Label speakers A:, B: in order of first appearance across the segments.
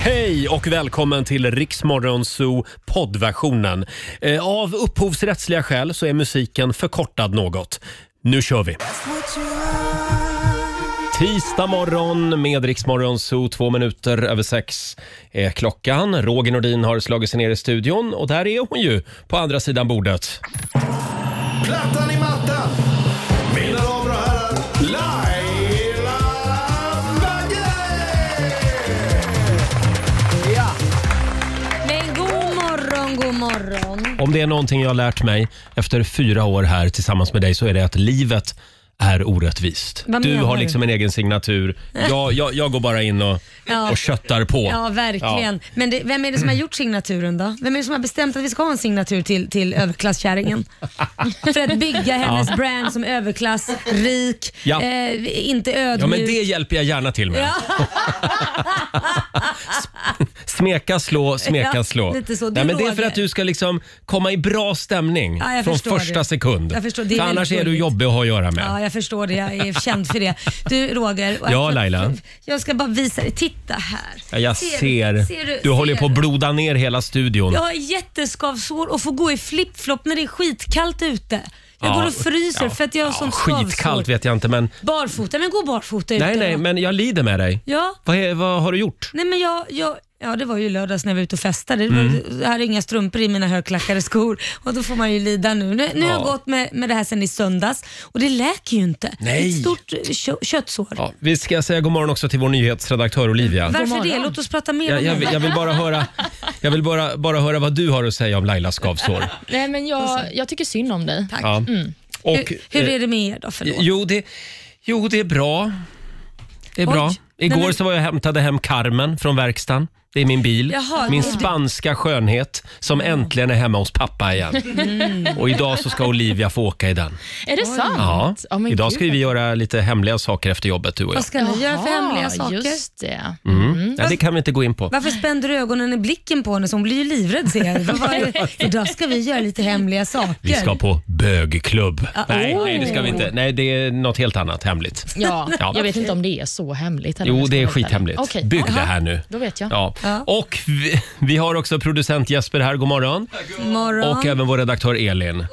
A: Hej och välkommen till Riksmorgon Zoo poddversionen. Eh, Av upphovsrättsliga skäl så är musiken förkortad något. Nu kör vi! Tisdag morgon med Riksmorgon Zoo, två minuter över sex är klockan. Roger Nordin har slagit sig ner i studion och där är hon ju, på andra sidan bordet.
B: Plattan i mattan! Mina damer och herrar, Laila Bagge!
C: Men god morgon, god morgon.
A: Om det är någonting jag har lärt mig efter fyra år här tillsammans med dig så är det att livet är orättvist.
C: Vad
A: du
C: menar
A: har
C: du?
A: liksom en egen signatur. Jag, jag, jag går bara in och,
C: Ja.
A: och köttar på.
C: Ja, verkligen. Men det, vem är det som har gjort signaturen då? Vem är det som har bestämt att vi ska ha en signatur till, till överklasskärringen? För att bygga hennes
A: Ja.
C: brand som överklass, rik,
A: Ja.
C: eh, inte
A: Ja,
C: ödmjuk.
A: men det hjälper jag gärna till med.
C: Ja.
A: Smeka, slå, smeka,
C: Ja,
A: slå.
C: lite så. Du,
A: Nej, men det är för
C: Roger.
A: att du ska liksom komma i bra stämning
C: Ja, jag
A: från
C: förstår
A: första
C: det.
A: sekund.
C: Jag förstår, det är
A: för
C: väldigt
A: annars är du
C: gulligt.
A: jobbig att ha att göra med.
C: Ja, jag förstår det. Jag är känd för det. Du Roger.
A: Ja, Laila.
C: Jag ska bara visa dig. Titta här.
A: Ja, Jag
C: Ser-
A: ser.
C: ser
A: du,
C: du-
A: håller
C: ser
A: på att
C: du?
A: bloda ner hela studion.
C: Jag har jätteskavsår och får gå i flipflop när det är skitkallt ute. Jag
A: Ja.
C: går och fryser
A: Ja.
C: för att jag har
A: Ja,
C: sånt
A: Skitkallt
C: skavsår.
A: vet jag inte, men...
C: Barfota, men gå barfota ute.
A: Nej, nej, men jag lider med dig.
C: Ja,
A: Vad, är, vad har du gjort?
C: nej men jag, jag, ja, det var ju lördags när vi var ute och festade. Det var,
A: Mm.
C: Jag hade inga strumpor i mina högklackade skor och då får man ju lida nu. Nu, nu har jag
A: Ja.
C: gått med, med det här sedan i söndags och det läker ju inte.
A: Nej.
C: Ett stort eh, kö, köttsår.
A: Ja, vi ska säga god morgon också till vår nyhetsredaktör Olivia.
C: Varför
D: God
C: det?
D: morgon.
C: Låt oss prata mer
A: Jag,
C: om
A: jag,
C: det.
A: jag vill, bara höra, jag vill bara, bara höra vad du har att säga om Lailas skavsår.
D: Nej, men jag, jag tycker synd om dig.
A: Ja. Och,
C: Mm.
A: eh,
C: hur, hur är det med er då? Förlåt.
A: Jo, det, jo, det är bra. Det är
C: Oj.
A: bra. Igår
C: Nej, men-
A: så var jag och hämtade hem Carmen från verkstaden. Det är min bil.
C: Jaha,
A: min
C: det- Mm.
A: spanska skönhet som äntligen är hemma hos pappa igen. Och idag så ska Olivia få åka i den.
D: Är det sant?
A: Ja.
D: Ja, men
A: idag
D: gud.
A: ska vi göra lite hemliga saker efter jobbet du och jag.
C: Vad ska Mm. ni göra för
D: Jaha,
C: hemliga saker?
D: Just det.
A: Mm. Nej, det kan vi inte gå in på.
C: Varför spände du ögonen i blicken på henne? Så hon blir ju livrädd ser jag. Vad var det? Idag ska vi göra lite hemliga saker.
A: Vi ska på bögklubb. Nej,
C: oh.
A: nej, det ska vi inte. Nej, det är något helt annat hemligt.
D: Ja,
A: Ja.
D: Jag vet inte om det är så hemligt. eller om
A: Jo,
D: jag ska
A: det är
D: vara helt
A: skithemligt.
D: ärlig. Okej.
A: Bygg
D: Ja,
A: det här nu.
D: Då vet jag.
A: Ja.
C: Ja.
A: Och vi, vi har också producent Jesper här, god morgon.
C: Morgon.
A: Och även vår redaktör Elin.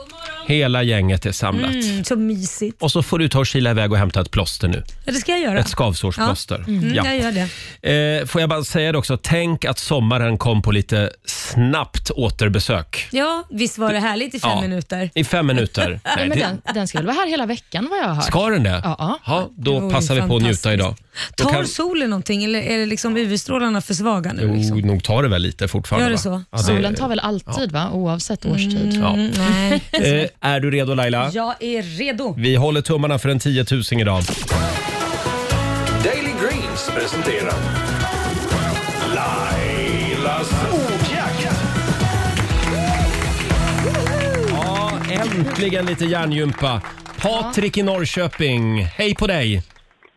A: Hela gänget är samlat.
C: Mm, så mysigt.
A: Och så får du ta och kila iväg och hämta ett plåster nu.
C: Ja, det ska jag göra.
A: Ett skavsårsplåster.
C: Mm,
A: Ja.
C: Jag gör det.
A: Eh, får jag bara säga det också, tänk att sommaren kom på lite snabbt återbesök.
C: Ja, visst var det härligt i fem
A: Ja.
C: minuter?
A: I fem minuter.
D: Nej,
A: Nej,
D: men
A: det,
D: den, den ska väl vara här hela veckan vad jag har hört.
A: ska den det?
D: Ja, ja.
A: Ja,
C: Det
A: då
C: vore
A: passar vi på att njuta
C: fantastiskt.
A: idag. Då
C: Tar
A: kan-
C: solen någonting eller är det liksom UV-strålarna för svaga nu?
A: Jo,
C: Liksom?
A: nog tar det väl lite fortfarande.
C: Gör det
A: va?
C: så?
A: Ja, det-
D: Solen tar väl alltid, va? oavsett årstid.
A: Ja.
C: Mm, nej.
A: Eh, är du redo Laila?
C: Jag är redo.
A: Vi håller tummarna för en 10 000 idag.
B: Daily Greens presenterar Lailas ordjakt.
A: Ja, äntligen lite hjärngympa. Patrik i Norrköping, hej på dig!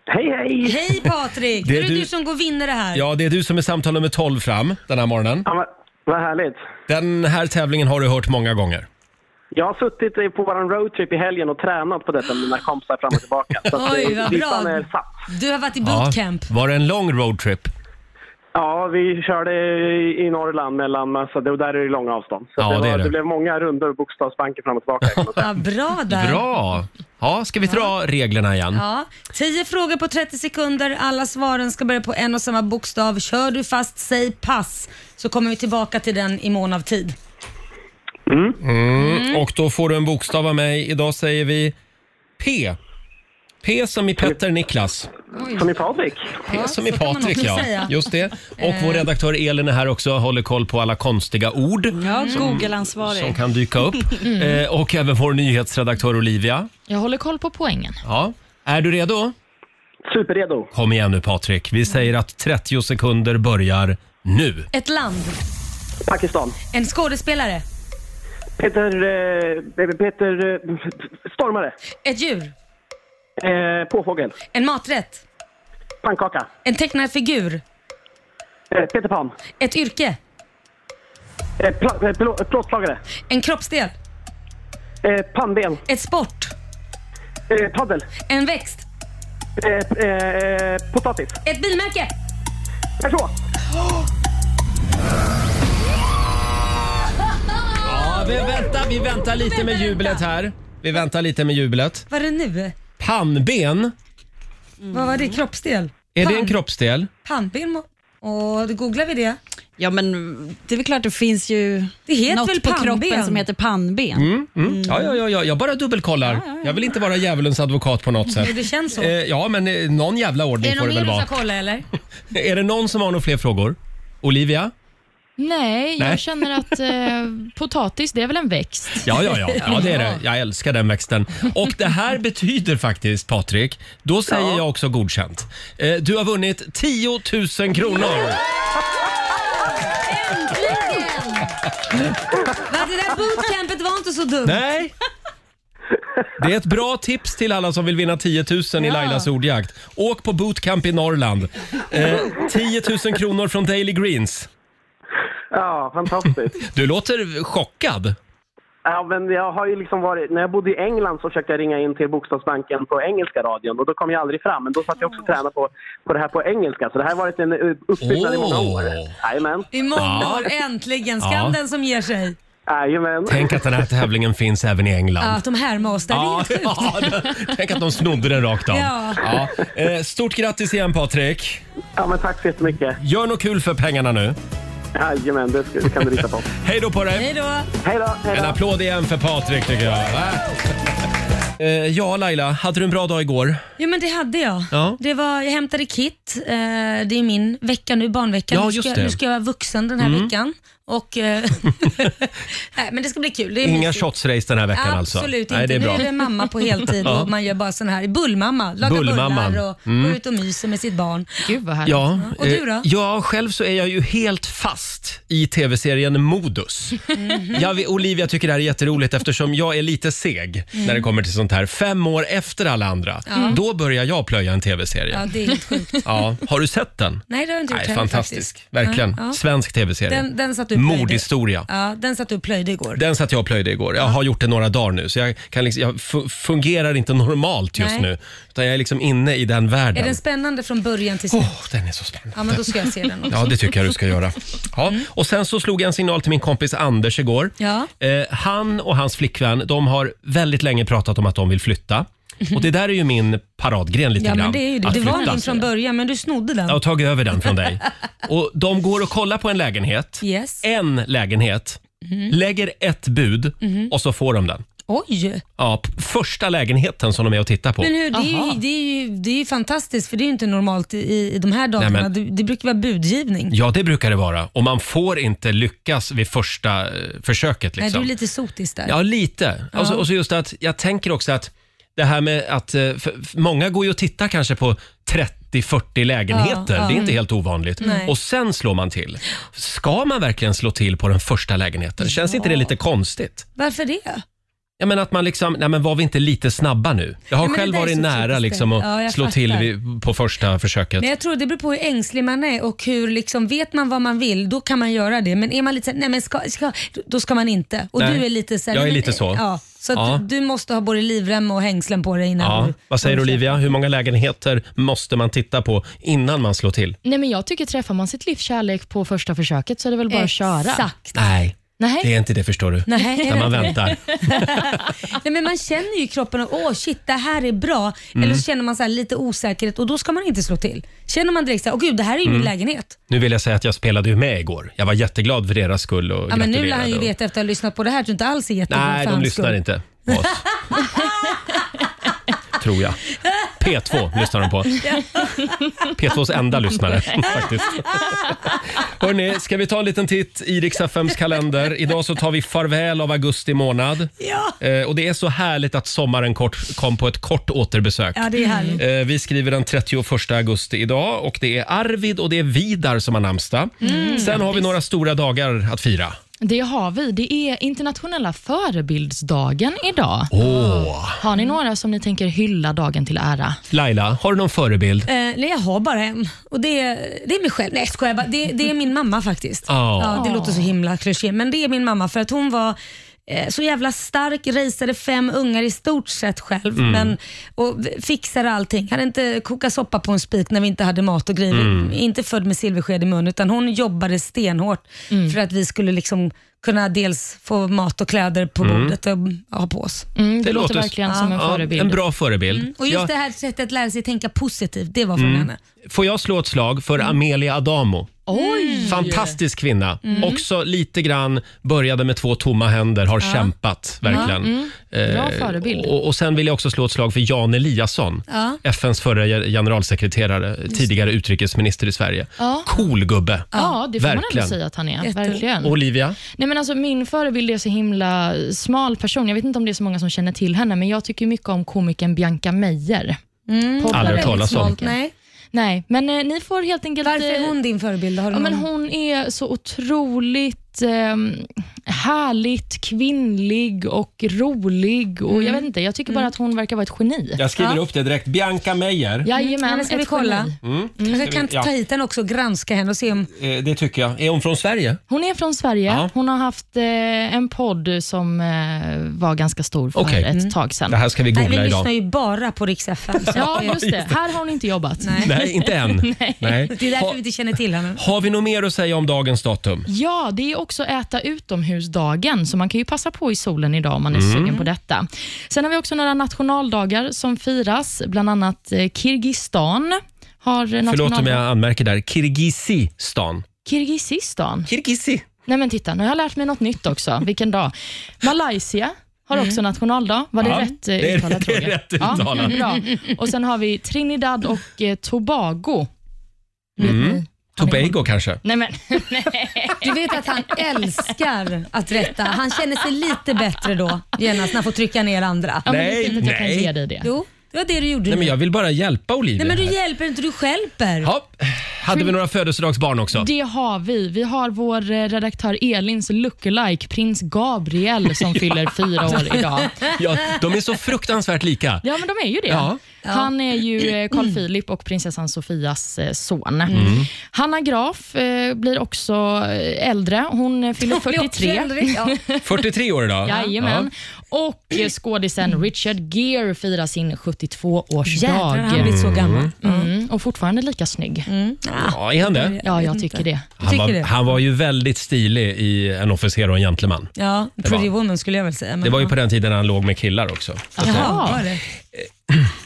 E: Hej, hej!
C: Hej Patrik!
A: Det
C: Det
A: är
C: är det du,
A: du-
C: som går vinnare här.
A: Ja, det är du som är samtal nummer 12 fram den här morgonen.
E: Ja, men, vad härligt.
A: Den här tävlingen har du hört många gånger.
E: Jag har suttit eh, på vår roadtrip i helgen och tränat på detta med mina kompisar fram och tillbaka. Så att, eh,
C: Oj, vad
E: listan
C: bra.
E: är satt.
C: Du har varit i bootcamp.
A: Var det en lång roadtrip?
E: Ja, vi körde i i Norrland mellan massa, det, och där är det långa avstånd. Så
A: Ja,
E: det, var,
A: det är det.
E: det. blev många rundor och bokstavsbanker fram och tillbaka. kan man säga.
C: Ja, bra där.
A: Bra! Ja, ska vi dra reglerna igen?
C: Ja, 10 frågor på 30 sekunder. Alla svaren ska börja på en och samma bokstav. Kör du fast, säg pass. Så kommer vi tillbaka till den i mån av tid.
A: Och då får du en bokstav av mig. Idag säger vi P. P som i Petter Niklas.
E: Som i Patrik.
A: P som i
C: så kan man
A: Patrik,
C: också
A: ja.
C: säga.
A: Just det. Och vår redaktör Elin är här också och håller koll på alla konstiga ord.
F: Ja,
C: Mm.
A: som
F: Google-ansvarig.
A: kan dyka upp. Eh, och även vår nyhetsredaktör Olivia.
D: Jag håller koll på poängen.
A: Ja. Är du redo?
E: Superredo.
A: Kom igen nu Patrik. Vi säger att 30 sekunder börjar nu.
C: Ett land.
E: Pakistan.
C: En skådespelare.
E: Peter... Eh, Peter... Eh, stormare.
C: Ett djur.
E: Eh, påfågel.
C: En maträtt.
E: Pannkaka.
C: En tecknad figur.
E: Eh, Peter Pan.
C: Ett yrke.
E: Eh, pla- eh, plå- plåtslagare.
C: En kroppsdel.
E: Eh, pannben.
C: Ett sport.
E: Eh, paddel.
C: En växt.
E: Eh, eh, potatis.
C: Ett bilmärke.
E: Peugeot.
A: Ja, vi väntar, vi väntar lite med jublet här. Vi väntar lite med jublet.
C: Vad är det nu?
A: Pannben,
C: Vad var det? Kroppsdel?
A: är det
C: Pann-
A: en kroppsdel?
C: Pannben? må- Och då googlar vi det.
F: Ja, men det är väl klart det finns ju
C: Det heter
F: något
C: väl
F: på
C: pannben?
F: kroppen som heter pannben.
A: Mm, mm. Ja, ja, ja, ja, jag bara dubbelkollar. Jag vill inte vara djävulens advokat på något sätt.
C: Det känns så.
A: Eh, ja, men eh, någon jävla
C: är
A: ordning
C: det
A: får
C: någon
A: det
C: mer
A: väl
C: du
A: vara.
C: ska kolla eller?
A: Är det någon som har några fler frågor? Olivia?
D: Nej, jag
A: Nej.
D: känner att eh, potatis, det är väl en växt?
A: Ja, ja, ja, ja, det är det. Jag älskar den växten. Och det här betyder faktiskt, Patrik, då säger jag också godkänt. Eh, Du har vunnit 10 000 kronor.
C: Va, det där bootcampet var inte så dumt.
A: Nej! Det är ett bra tips till alla som vill vinna 10 000 i Lailas ordjakt. Åk på bootcamp i Norrland. Eh, 10 000 kronor från Daily Greens.
E: Ja, fantastiskt.
A: Du låter chockad.
E: ja, men jag har ju liksom varit, när jag bodde i England så försökte jag ringa in till Bokstavsbanken på engelska radion och då kom jag aldrig fram. Men då satt jag också och tränade på, på det här på engelska. Så det här har varit en eh, uppbyggnad i många år.
A: Åh.
E: Jajamän.
C: I många
A: Ja.
C: år, äntligen. Skam
A: Ja.
C: den som ger sig.
E: Jajamän.
A: Tänk att den här tävlingen finns även i England.
C: Ja, att de härmar oss där, det är helt sjukt.
A: ja, tänk att de snodde den rakt av.
C: Ja.
A: Ja. Eh, Stort grattis igen Patrik.
E: Ja, men tack så jättemycket.
A: Gör något kul för pengarna nu.
E: Jajamän, det, ska- det kan du lita på.
A: Hej då på dig.
C: Hej då.
E: Hej då! Hej
A: En
E: då.
A: applåd igen för Patrik tycker jag. Va? Eh, Ja Laila, hade du en bra dag igår?
C: Jo men det hade jag.
A: Ja.
C: Det var, jag hämtade Kit, eh, det är min vecka nu, barnveckan.
A: Ja,
C: nu,
A: just
C: ska,
A: det. Mm.
C: nu ska jag vara vuxen den här veckan. Och, eh, nej, men det ska bli kul. Det är
A: Inga
C: mysigt.
A: shotsrace den här veckan alltså?
C: Absolut
A: Nej,
C: inte.
A: det är bra.
C: Nu är det mamma på heltid
A: Ja. Mm.
C: och man gör bara sån här bullmamma. Lagar
A: Bullmamman.
C: bullar och går ut och myser med sitt barn.
D: Gud vad härligt.
A: Ja,
C: Och du då?
A: eh, ja, själv så är jag ju helt fast i tv-serien Modus.
C: Mm.
A: Jag vet, Olivia tycker det här är jätteroligt eftersom jag är lite seg
C: Mm.
A: när det kommer till sånt här. Fem år efter alla andra, då börjar jag plöja en
C: Ja,
A: tv-serie.
C: det är helt sjukt.
A: Ja. Har du sett den?
C: Nej, det har jag inte gjort
A: Nej,
C: heller
A: fantastisk.
C: faktiskt.
A: Verkligen.
C: Ja, ja.
A: Svensk tv-serie.
C: Den, den satt du och plöjde.
A: Mordhistoria.
C: Ja, den satt du och plöjde igår.
A: Den satt jag och plöjde igår. Jag har gjort det några dagar nu, så jag, kan liksom, jag fu- fungerar inte normalt just
C: Nej.
A: nu. Utan jag är liksom inne i den världen.
C: Är den spännande från början till slut?
A: Åh, den är så spännande.
C: Ja, men då ska jag se den också.
A: Ja, det tycker jag du ska göra. Ja. Och sen så slog jag en signal till min kompis Anders igår.
C: Mm. Ja.
A: Eh, han och hans flickvän, de har väldigt länge pratat om att de vill flytta. Och det där är ju min paradgren lite
C: Ja,
A: grann.
C: men det är ju det.
A: att
C: Det var
A: flytta.
C: min från början, men du snodde den.
A: Jag har tagit över den från dig. Och de går och kollar på en lägenhet.
C: Yes. Mm.
A: En lägenhet. Lägger ett bud och så får de den.
C: Oj!
A: Ja, p- första lägenheten som de är och tittar på.
C: Men hur, det, är
D: Aha.
C: ju, det, är ju, det är ju fantastiskt, för det är ju inte normalt i, i de här dagarna.
A: Nej, men-
C: det, det brukar vara budgivning.
A: Ja, det brukar det vara. Och man får inte lyckas vid första eh, försöket. Liksom.
C: Nej, du är lite sotis där.
A: Ja, lite. Och, så, och så just att jag tänker också att det här med att eh, för, för många går ju och tittar kanske på 30-40 lägenheter.
C: Ja, ja.
A: Det är inte helt ovanligt.
C: Nej.
A: Och sen slår man till. Ska man verkligen slå till på den första lägenheten? Känns inte det lite konstigt?
C: Varför det?
A: Ja, men att man liksom, nej men var vi inte lite snabba nu? Jag har
C: Ja, men
A: själv
C: det där är
A: varit
C: så
A: nära
C: typiskt
A: liksom
C: det.
A: att
C: Ja, jag
A: slå
C: fattar.
A: till vid, på första försöket.
C: Men jag tror det beror på hur ängslig man är och hur liksom, vet man vad man vill, då kan man göra det. Men är man lite såhär, nej men ska, ska, då ska man inte. Och
A: Nej,
C: du är lite såhär,
A: jag är
C: nej, men-
A: lite så.
C: Ja, så att
A: Ja.
C: du du måste ha både livrem och hängslen på dig innan
A: Ja,
C: du...
A: vad säger Olivia? Hur många lägenheter måste man titta på innan man slår till?
D: Nej, men jag tycker träffar man sitt livs kärlek på första försöket så är det väl bara att köra.
C: Exakt.
A: Nej,
D: Nej.
A: det är inte det förstår du.
C: Nej.
A: När man väntar.
C: Nej, men man känner ju i kroppen och åh shit det här är bra. Eller
A: Mm.
C: så känner man så här lite osäkerhet och då ska man inte slå till. Känner man direkt så här, åh gud det här är ju
A: Mm.
C: min lägenhet.
A: Nu vill jag säga att jag spelade ju med igår. Jag var jätteglad för deras skull och
C: Ja, men nu lär han
A: gratulerade
C: ju
A: och-
C: veta efter att ha lyssnat på det här att du inte alls är jättebra
A: Nej,
C: för
A: de
C: hans
A: lyssnar
C: skull.
A: inte på oss. Tror jag. P2 lyssnar de på. P2s enda lyssnare faktiskt. Hörrni, ska vi ta en liten titt i Rix FMs kalender? Idag så tar vi farväl av augusti månad.
C: Ja.
A: Eh, och det är så härligt att sommaren kort, kom på ett kort återbesök.
C: Ja, det är härligt.
A: Eh, Vi skriver den 31 augusti idag och det är Arvid och det är Vidar som har namnsdag.
D: Mm.
A: Sen har vi några stora dagar att fira.
D: Det har vi. Det är internationella förebildsdagen idag.
A: Oh.
D: Har
C: Mm.
D: ni några som ni tänker hylla dagen till ära? Mm,
A: Laila, har du någon förebild?
C: Eh, nej, jag har bara en och det är, det är mig själv. Nej, jag skojar bara. Det, det är min mamma faktiskt.
A: Ja.
C: Ja, det låter så himla klyschigt men det är min mamma för att hon var eh, så jävla stark, raceade fem ungar i stort sett själv men, och v- fixade allting. Hade inte kokat soppa på en spik när vi inte hade mat och grejer. Inte född med silversked i mun utan hon jobbade stenhårt för att vi skulle liksom kunna dels få mat och kläder på bordet och ha på oss.
D: Mm, det,
A: Det
D: låter
A: låter-
D: verkligen som en
A: Ja,
D: förebild. Mm.
A: en bra förebild.
C: Och just
A: Jag-
C: det här sättet att lära sig tänka positivt, det var från henne.
A: Får jag slå ett slag för Amelia Adamo?
D: Mm. Oj! Mm.
A: Fantastisk kvinna. Också lite grann började med två tomma händer, har kämpat verkligen.
D: Mm.
A: Eh,
D: Bra förebild.
A: Och, och sen vill jag också slå ett slag för Jan Eliasson,
C: Ja.
A: FNs förra ge- generalsekreterare, tidigare utrikesminister i Sverige.
D: Ja.
A: Cool gubbe.
D: Ja, det får man
A: Verkligen.
D: ändå säga att han är.
C: Jätteroligt.
D: Verkligen.
A: Olivia?
D: Nej, men alltså, min förebild är så himla smal person. Jag vet inte om det är så många som känner till henne, men jag tycker mycket om komikern Bianca Meijer. Mm.
A: Aldrig hört talas om.
C: Nej.
D: Nej, men eh, ni får helt enkelt...
C: Varför
D: eh,
C: är hon din förebild? Har du
D: Ja, men
C: någon-
D: hon är så otroligt eh, härligt kvinnlig och rolig.
C: Mm.
D: Och Jag vet inte, jag tycker bara att hon verkar vara ett geni.
A: Jag skriver upp det direkt. Bianca Meyer.
D: Jajamän,
C: Ja, det Mm, ska
D: ett
C: vi kolla. Mm.
D: geni.
C: Kanske kan
A: Mm. ja.
C: ta hit henne också och granska henne och se om...
A: Eh, det tycker jag. Är hon från Sverige?
D: Hon är från Sverige.
A: Ja.
D: Hon har haft eh, en podd som eh, var ganska stor för
A: Okej.
D: ett tag sedan.
A: Det här ska vi
C: Nej,
A: googla
C: vi
A: idag.
C: lyssnar ju bara på Rix FM. så
D: Ja,
C: att det-
D: just det. Här har hon inte jobbat.
A: Nej, inte än. Nej.
C: Det är därför
A: Ha,
C: vi inte känner till henne.
A: har vi något mer att säga om dagens datum?
D: Ja, det är också äta utomhusdagen, så man kan ju passa på i solen idag om man är
A: Mm.
D: sugen på detta. Sen har vi också några nationaldagar som firas, bland annat eh, Kirgizistan. Har eh,
A: Förlåt om
D: nationaldag-
A: jag anmärker där. Kirgizistan.
D: Kirgizistan.
A: Kirgizi.
D: Nej men titta, nu har jag lärt mig något nytt också. Vilken dag. Malaysia har också nationaldag. Var det
A: Mm. Ja,
D: rätt eh,
A: det är-
D: uttalat?
A: det är
D: Roger?
A: rätt uttalat.
D: Ja, bra. Och sen har vi Trinidad och eh, Tobago. Vet ni?
A: Tobago kanske?
D: Nej men,
C: Du vet att han älskar att rätta. Han känner sig lite bättre då, genast när han får trycka ner andra.
D: ja, men
A: Nej,
D: det är fint att jag kan
A: nej.
D: ge dig det.
C: Jo, det var det du gjorde.
A: Nej, men jag vill bara hjälpa Olivia.
C: Nej, men du
A: här.
C: hjälper inte, du stjälper.
A: Ja, hade vi några födelsedagsbarn också?
D: Det har vi. Vi har vår eh, redaktör Elins lookalike, prins Gabriel, som fyller fyra år idag.
A: Ja, de är så fruktansvärt lika.
D: Ja, men de är ju det.
A: Ja.
D: Han är ju eh, Carl Philip och prinsessan Sofias eh, son.
A: Mm.
D: Hanna Graf eh, blir också eh, äldre. Hon eh, fyller 43.
C: Ja.
A: 43 år idag.
D: Jajamän. Och eh, skådisen Richard Gere firar sin 72-årsdag.
C: Jädrar, han har blivit så gammal.
D: Mm, och fortfarande lika snygg.
A: Ja. Ja, är han det?
D: Ja, jag
C: vet
D: tycker
C: inte.
D: det.
A: Han
C: Tycker
A: var,
C: du?
A: han var ju väldigt stilig i En officer och en gentleman.
C: Ja, pretty woman skulle jag väl säga. Men
A: Det var ju på den tiden han låg med killar också.
C: Jaha, var det?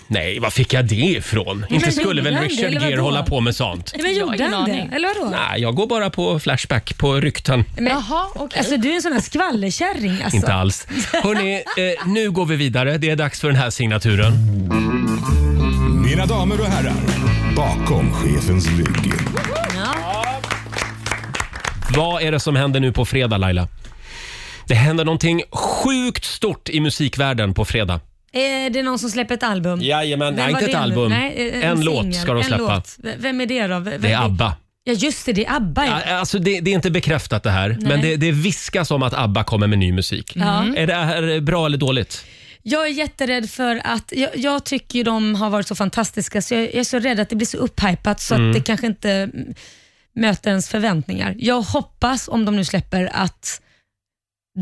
A: Nej, var fick jag det ifrån? Inte skulle väl
C: gjorde han det,
A: Richard
C: eller
A: Gere
C: vadå?
A: hålla på med sånt?
C: Nej, men
D: Jag har
C: gjorde
D: ingen
C: han
D: aning.
C: det? Eller vadå?
A: Nej, jag går bara på Flashback, på rykten.
C: Men-
D: Jaha, okej.
C: Alltså du är en sån här skvallerkärring alltså.
A: Inte alls. Hörrni, eh, nu går vi vidare. Det är dags för den här signaturen.
B: Mina damer och herrar, bakom chefens rygg.
A: Vad är det som händer nu på fredag, Laila? Det händer någonting sjukt stort i musikvärlden på fredag.
C: Är det någon som släpper ett album?
A: Jajamän,
C: Vem
A: nej, inte
C: var
A: ett
C: det nu?
A: album.
C: Nej, eh,
A: en låt
C: singel.
A: ska de
C: En
A: släppa.
C: låt. V- Vem är det då? V-
A: Det
C: vem-
A: är ABBA.
C: Ja just det, det är ABBA. Ja.
A: Ja, Alltså det, det är inte bekräftat det här, men det, det viskas om att ABBA kommer med ny musik. Är det här bra eller dåligt?
C: Jag är jätterädd för att, jag, jag tycker ju de har varit så fantastiska så jag, jag är så rädd att det blir så upphypat så att det kanske inte mm, möter ens förväntningar. Jag hoppas, om de nu släpper, att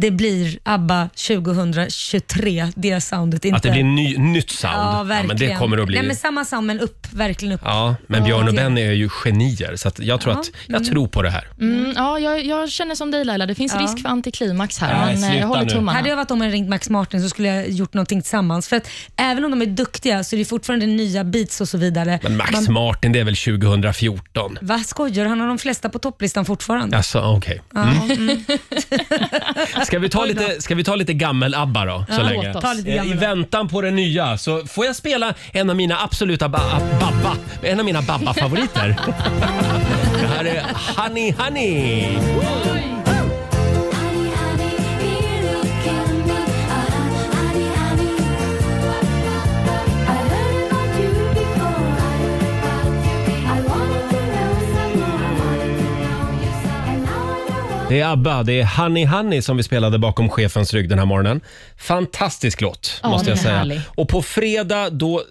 C: det blir ABBA 2023, det soundet. Inte...
A: Att det blir ny, nytt sound?
C: Ja, verkligen.
A: men det kommer att bli...
C: Nej, men samma sound, men upp, verkligen upp.
A: Ja, men Björn och
C: det-
A: Benny är ju genier, så att jag, tror att, jag tror på det här.
D: Mm, ja, jag, jag känner som dig Laila, det finns risk för antiklimax här,
A: Ja,
D: men eh,
A: sluta
D: jag håller
A: nu.
D: tummarna.
C: Hade jag varit om och ringt Max Martin så skulle jag gjort någonting tillsammans. För att även om de är duktiga så är det fortfarande nya beats och så vidare.
A: Men Max
C: Man,
A: Martin, det är väl 2014?
C: vad skojar Han har de flesta på topplistan fortfarande.
A: Alltså, okej.
C: mm.
A: Mm. ska, vi ta lite, ska vi ta lite gammel-ABBA då, så länge?
D: låt oss.
C: Ta lite
A: Eh, I
C: gammal.
A: väntan på det nya så får jag spela en av mina absoluta ba- a- babba, en av mina babba-favoriter. det här är Honey Honey.
G: Honey, honey, here you can be. Uh-huh, honey, honey. I heard about you before. I wanted to know some more. And now I know what
A: Det är ABBA, det är Honey Honey som vi spelade bakom chefens rygg den här morgonen. Fantastisk låt,
D: Ja,
A: måste jag
D: den är
A: säga.
D: härlig.
A: Och på fredag då eh,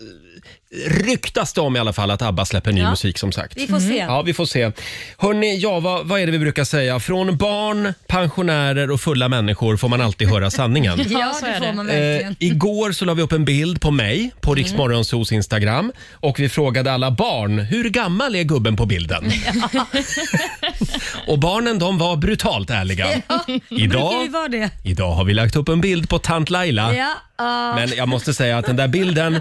A: ryktas det om i alla fall att ABBA släpper ny musik som sagt.
C: Vi får se.
A: Mm. Ja, vi får se. Hörrni, ja, vad, vad är det vi brukar säga? Från barn, pensionärer och fulla människor får man alltid höra sanningen.
C: Ja,
D: så
C: det
D: är
C: får
D: det.
C: man
A: Eh,
C: verkligen. Mm.
A: igår så la vi upp en bild på mig på Riksmorgonsos Instagram och vi frågade alla barn hur gammal är gubben på bilden? och barnen de var brutalt ärliga.
C: Brukar ju
A: Idag,
C: vara det.
A: idag har vi lagt upp en bild på tant Laila.
C: Ja, ja.
A: Men jag måste säga att den där bilden,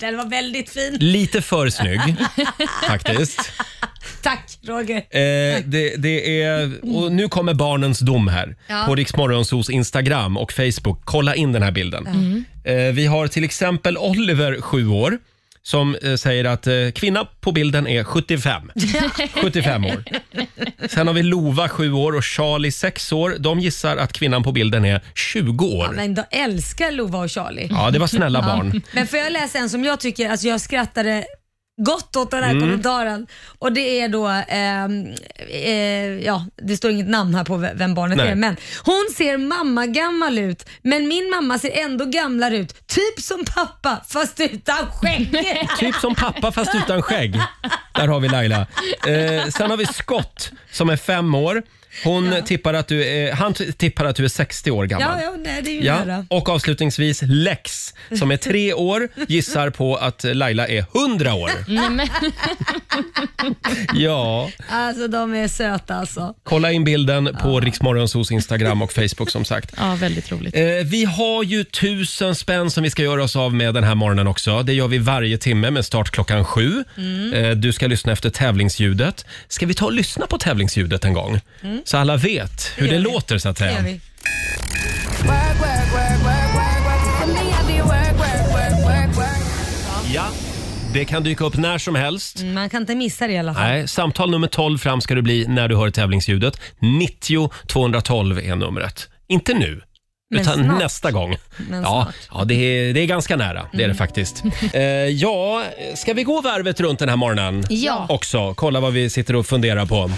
C: Den var väldigt fin.
A: lite för snygg faktiskt.
C: Tack Roger.
A: Eh, det, det är, och nu kommer barnens dom här
C: Ja.
A: på Riksmorgonsos Instagram och Facebook. Kolla in den här bilden.
C: Mm.
A: Eh, vi har till exempel Oliver, sju år, som eh, säger att eh, kvinna på bilden är 75. 75 år. Sen har vi Lova, sju år och Charlie, sex år. De gissar att kvinnan på bilden är 20 år.
C: Men jag älskar Lova och Charlie.
A: Ja, det var snälla barn.
C: Men får jag läsa en som jag tycker, alltså jag skrattade gott åt den här
A: Mm.
C: kommentaren. Och det är då, ehm, eh, ja det står inget namn här på v- vem barnet
A: Nej.
C: är, men hon ser mamma gammal ut, men min mamma ser ändå gamlare ut. Typ som pappa, fast utan skägg.
A: Typ som pappa fast utan skägg. Där har vi Laila. Eh, sen har vi Scott som är fem år. Hon tippar att du är, han t- tippar att du är 60 år gammal.
C: ja, ja, nej det är ju
A: Ja,
C: nära.
A: och avslutningsvis Lex som är tre år gissar på att Laila är 100 år. ja,
C: Alltså de är söta alltså.
A: kolla in bilden på Riksmorgonsos Instagram och Facebook som sagt.
D: Ja, väldigt roligt.
A: Eh, vi har ju tusen spänn som vi ska göra oss av med den här morgonen också. Det gör vi varje timme med start klockan sju.
C: Mm.
A: Eh, du ska lyssna efter tävlingsljudet. Ska vi ta och lyssna på tävlingsljudet en gång? Så alla vet hur det,
C: gör vi.
A: låter så att
C: Mm. Det gör
A: säga.
C: vi.
A: Ja, det kan dyka upp när som helst.
C: Mm, Man kan inte missa det i alla fall.
A: Nej, samtal nummer 12 fram ska du bli när du hör tävlingsljudet. 90 212 är numret. Inte nu.
C: Men
A: Utan
C: snart.
A: nästa gång. ja,
C: Men snart. Mm.
A: ja det, är, det är ganska nära. Det är det faktiskt. Eh, ja, ska vi gå varvet runt den här morgonen?
D: Ja.
A: Också. Kolla vad vi sitter och funderar på.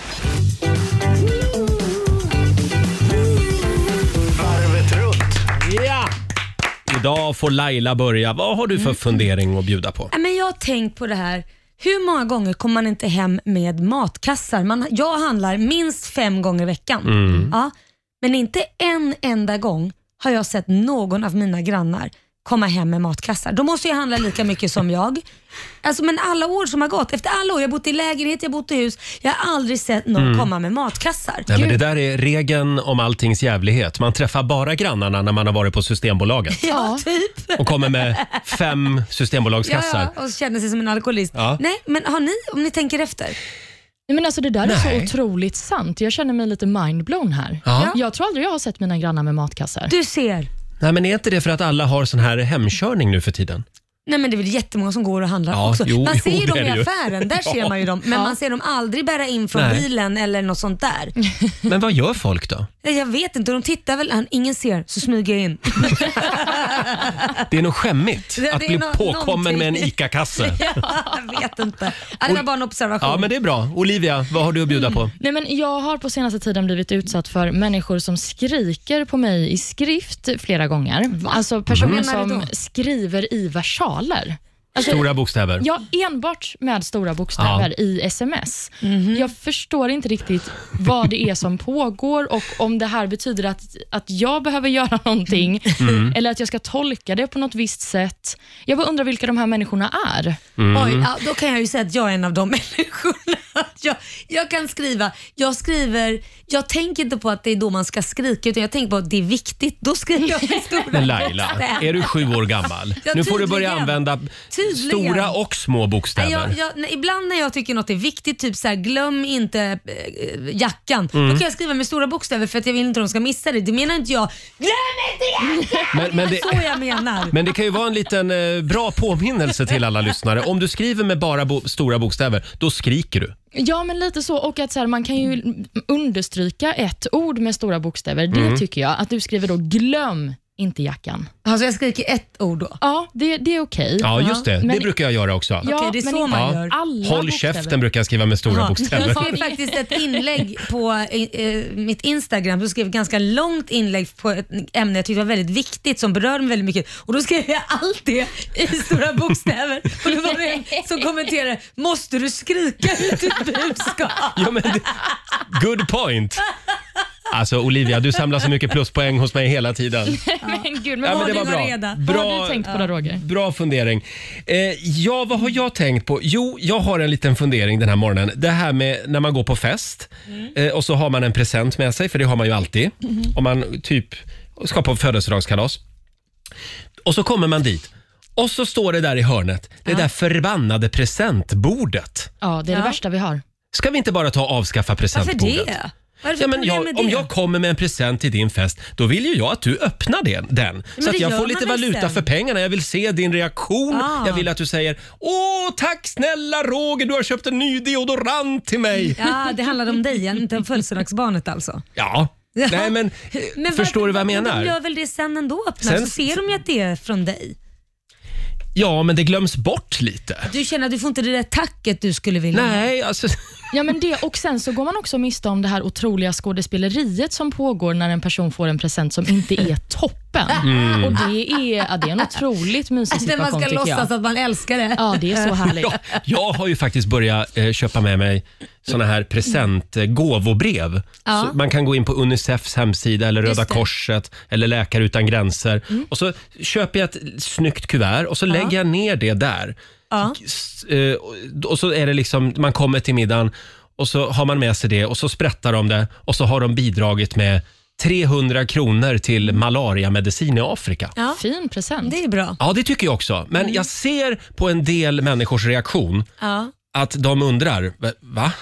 A: Ja! Idag får Laila börja. Vad har du
C: Mm.
A: för fundering att bjuda på?
C: Nej, Äh, Men jag har tänkt på det här. Hur många gånger kommer man inte hem med matkassar? Man, jag handlar minst fem gånger i veckan.
A: Mm.
C: Ja, men inte en enda gång har jag sett någon av mina grannar komma hem med matkassar. De måste ju handla lika mycket som jag. Alltså, men alla år som har gått, efter alla år, jag har bott i lägenhet, jag har bott i hus, jag har aldrig sett någon komma med matkassar.
A: Mm. Nej, men det där är regeln om alltings jävlighet. Man träffar bara grannarna när man har varit på Systembolaget
C: Ja, typ.
A: och kommer med fem
C: Ja,
A: Systembolagskassar.
C: ja, och känner sig som en alkoholist.
A: Ja.
C: Nej, men har ni, om ni tänker efter?
D: Nej, men alltså, det där är
A: Nej.
D: så otroligt sant. Jag känner mig lite mindblown här.
A: Ja.
D: Jag tror aldrig jag har sett mina grannar med matkassar.
C: Du ser.
A: Nej, men är inte det för att alla har sån här hemkörning nu för tiden?
C: Nej men det är väl jättemånga som går och handlar
A: Ja,
C: också.
A: jo,
C: man
A: jo,
C: ser ju
A: det
C: dem
A: är det
C: i
A: ju.
C: affären, där ser man ju dem. Men man ser dem aldrig bära in från
A: Nej.
C: bilen eller något sånt där. Eh,
A: Men vad gör folk då?
C: Jag vet inte, de tittar väl, han, ingen ser, så smyger jag in.
A: Det är nog skämmigt
C: Det-
A: att
C: det är
A: bli
C: nå-
A: påkommen med en
C: någonting.
A: ICA-kasse.
C: jag vet inte. Ja, det var bara en observation.
A: Ja, men det är bra. Olivia, vad har du att bjuda på?
C: Mm,
D: Nej, men jag har på senaste tiden blivit utsatt för människor som skriker på mig i skrift flera gånger. Alltså personer
C: Vad menar du
D: som
C: då?
D: skriver i versaler. Alltså,
A: Stora bokstäver.
D: Ja, enbart med stora bokstäver i sms. Jag förstår inte riktigt vad det är som pågår och om det här betyder att, att jag behöver göra någonting eller att jag ska tolka det på något visst sätt. Jag bara undrar vilka de här människorna är.
A: Mm.
C: Oj, ja, då kan jag ju säga att jag är en av de människorna. Jag, jag kan skriva, jag skriver, jag tänker inte på att det är då man ska skrika utan jag tänker på att det är viktigt. Då skriver jag med stora
A: Men Laila,
C: bokstäver.
A: är du sju år gammal?
C: Ja,
A: Nu får du
C: tydligen.
A: börja använda
C: Tydligen.
A: stora och små
C: Nej,
A: bokstäver.
C: jag, jag, nej, ibland när jag tycker något är viktigt, typ så här, glöm inte eh, jackan.
A: Mm.
C: Då kan jag skriva med stora bokstäver för att jag vill inte att de ska missa det. Det menar inte jag. Glöm inte jackan!
A: Men, men
C: Det
A: det,
C: är så jag menar.
A: Men det kan ju vara en liten eh, bra påminnelse till alla lyssnare. Om du skriver med bara bo- stora bokstäver, då skriker du.
D: Ja, men lite så. Och att så här, man kan
A: Mhm.
D: ju understryka ett ord med stora bokstäver. Det tycker jag. Att du skriver då glöm inte jackan.
C: Alltså jag skriker ett ord då.
D: Ja, det, det är okej.
A: Ja, just det. Det
D: Men-
A: brukar jag göra också.
D: Ja,
C: Okej, det är
D: men
C: så
D: inte
A: Ja.
C: man gör.
D: alla
A: Håll
D: bokstäver.
A: käften brukar jag skriva med stora
C: Ja.
A: bokstäver.
C: Jag skrev faktiskt ett inlägg på eh, eh, mitt Instagram, så skrev jag ett ganska långt inlägg på ett ämne jag tyckte var väldigt viktigt som berör mig väldigt mycket och då skrev jag allt det i stora bokstäver och då var det en som kommenterade “Måste du skrika ut ditt budskap?”
A: Ja, men det, good point! Alltså Olivia, du samlar så mycket pluspoäng hos mig hela tiden.
D: men gud, men
A: Ja,
D: vad,
A: men det var
D: har du,
A: bra.
C: reda.
D: vad
A: bra.
D: har du tänkt på då, Roger?
A: Bra fundering. Eh, ja, vad har jag tänkt på? Jo, jag har en liten fundering den här morgonen. Det här med när man går på fest
C: Mm.
A: eh, och så har man en present med sig, för det har man ju alltid.
C: Mhm.
A: Om man typ ska på födelsedagskalas. Och så kommer man dit och så står det där i hörnet, det där förbannade presentbordet.
D: Ja, det är det värsta vi har.
A: Ska vi inte bara ta och avskaffa
C: Varför
A: presentbordet?
C: det? Vad är det för
A: Ja, men
C: problem med
A: jag,
C: det?
A: om jag kommer med en present till din fest, då vill ju jag att du öppnar den. den så att
C: det
A: jag
C: gör
A: får lite
C: man väl
A: valuta
C: sen?
A: för pengarna. Jag vill se din reaktion.
C: Ah.
A: Jag vill att du säger “Åh, tack snälla Roger, du har köpt en ny deodorant till mig”.
C: Ja, det handlade om dig, inte om födelsedagsbarnet alltså.
A: Ja,
C: Ja.
A: nej men, eh, förstår
C: varför-
A: du vad jag
C: men De
A: menar?
C: gör väl det sen ändå öppnar,
A: Sen-
C: så ser de ju att det är från dig.
A: Ja, men det glöms bort lite.
C: Du känner att du får inte det där tacket du skulle vilja ha.
A: Nej, alltså...
D: Ja, men det, och sen så går man också miste om det här otroliga skådespeleriet som pågår när en person får en present som inte är toppen.
A: Mm.
D: Och det är, ja, det är en otroligt mysig
C: När
D: situation
C: man ska
D: tycker
C: låtsas
D: jag.
C: att man älskar det.
D: Ja, det är så härligt.
A: Jag, jag har ju faktiskt börjat eh, köpa med mig såna här presentgåvobrev.
C: Ja.
A: Man kan gå in på Unicefs hemsida eller Röda
C: Just det. Mm.
A: Korset eller Läkare utan gränser. Och så köper jag ett snyggt kuvert och så lägger jag ner det där.
C: Ja.
A: S- eh, och- Och så är det liksom, man kommer till middagen och så har man med sig det och så sprättar de det och så har de bidragit med 300 kronor till malariamedicin i Afrika.
C: Ja. Mm.
D: Fin present.
C: Det är bra.
A: Ja, det tycker jag också. Men jag ser på en del människors reaktion
C: Ja.
A: att de undrar, "Va- va?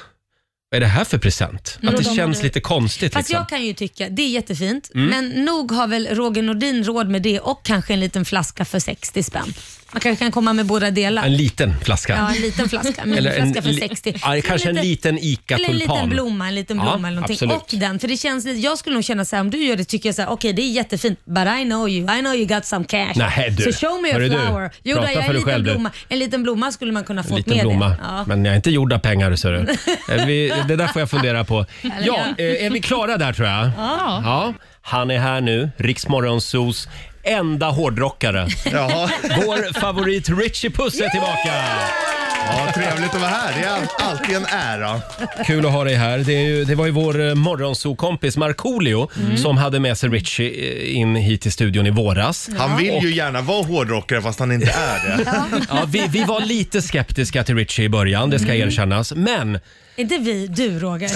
A: Vad är det här för
C: Mm.
A: present? Att det känns lite konstigt.
C: Fast
A: Liksom. Mm.
C: jag kan ju tycka, det är jättefint, men nog har väl Roger Nordin råd med det och kanske en liten flaska för 60 spänn. Man kanske kan komma med båda delar.
A: En liten flaska.
C: ja, en liten flaska. Men
A: Eller
C: en flaska
A: li-
C: för 60.
A: Ja, kanske en
C: Lite-
A: liten
C: Eller en liten
A: ICA-tulpan.
C: blomma, en liten
A: Ja,
C: blomma eller någonting.
A: absolut.
C: Och den, för det känns lite, jag skulle nog känna så här, om du gör det tycker jag så här, okej det är jättefint, but I know you, I know you got some cash.
A: Nähä, du.
C: Så show me
A: Hörru,
C: a
A: du.
C: flower. Jo,
A: Prata
C: då, jag
A: för dig
C: en liten
A: själv, du.
C: blomma. En liten blomma skulle man kunna
A: En
C: fått
A: liten
C: med
A: blomma.
C: det. Ja.
A: Men jag är inte gjord av pengar, så du. Är vi, det där får jag fundera på. Ja, eh, är vi klara där, tror jag?
D: Ja.
A: Ja, han är här nu, Riksmorgonsos enda hårdrockare.
H: Ja,
A: Vår favorit Richie Puss är tillbaka!
H: ja, trevligt att vara här. Det är all- alltid en ära.
A: Kul att ha dig här. Det, är ju, det var ju vår eh, morgonsokompis Markoolio
C: Mm.
A: som hade med sig Richie eh, in hit till studion i våras.
H: Han vill ju gärna vara hårdrockare fast han inte är det.
A: Ja, vi, vi var lite skeptiska till Richie i början, det
H: Mm.
A: ska erkännas. Men
C: Inte vi, du Roger.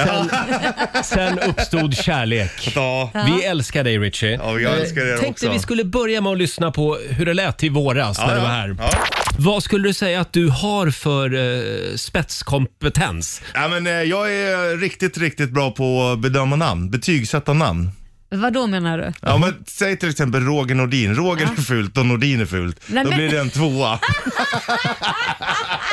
A: sen uppstod kärlek.
H: Ja,
A: Vi älskar dig Richie.
H: ja jag älskar er
A: Tänkte
H: också.
A: vi skulle börja med att lyssna på hur det lät i våras när du var här.
H: Ja.
A: Vad skulle du säga att du har för eh, spetskompetens?
H: Ja, men, eh, jag är riktigt, riktigt bra på att bedöma namn, betygsätta namn.
C: Vad då menar du?
A: Mm.
H: Ja, men, säg till exempel Roger Nordin. Roger är fult och Nordin är fult.
C: Nej,
H: Då
C: men-
H: blir det en tvåa.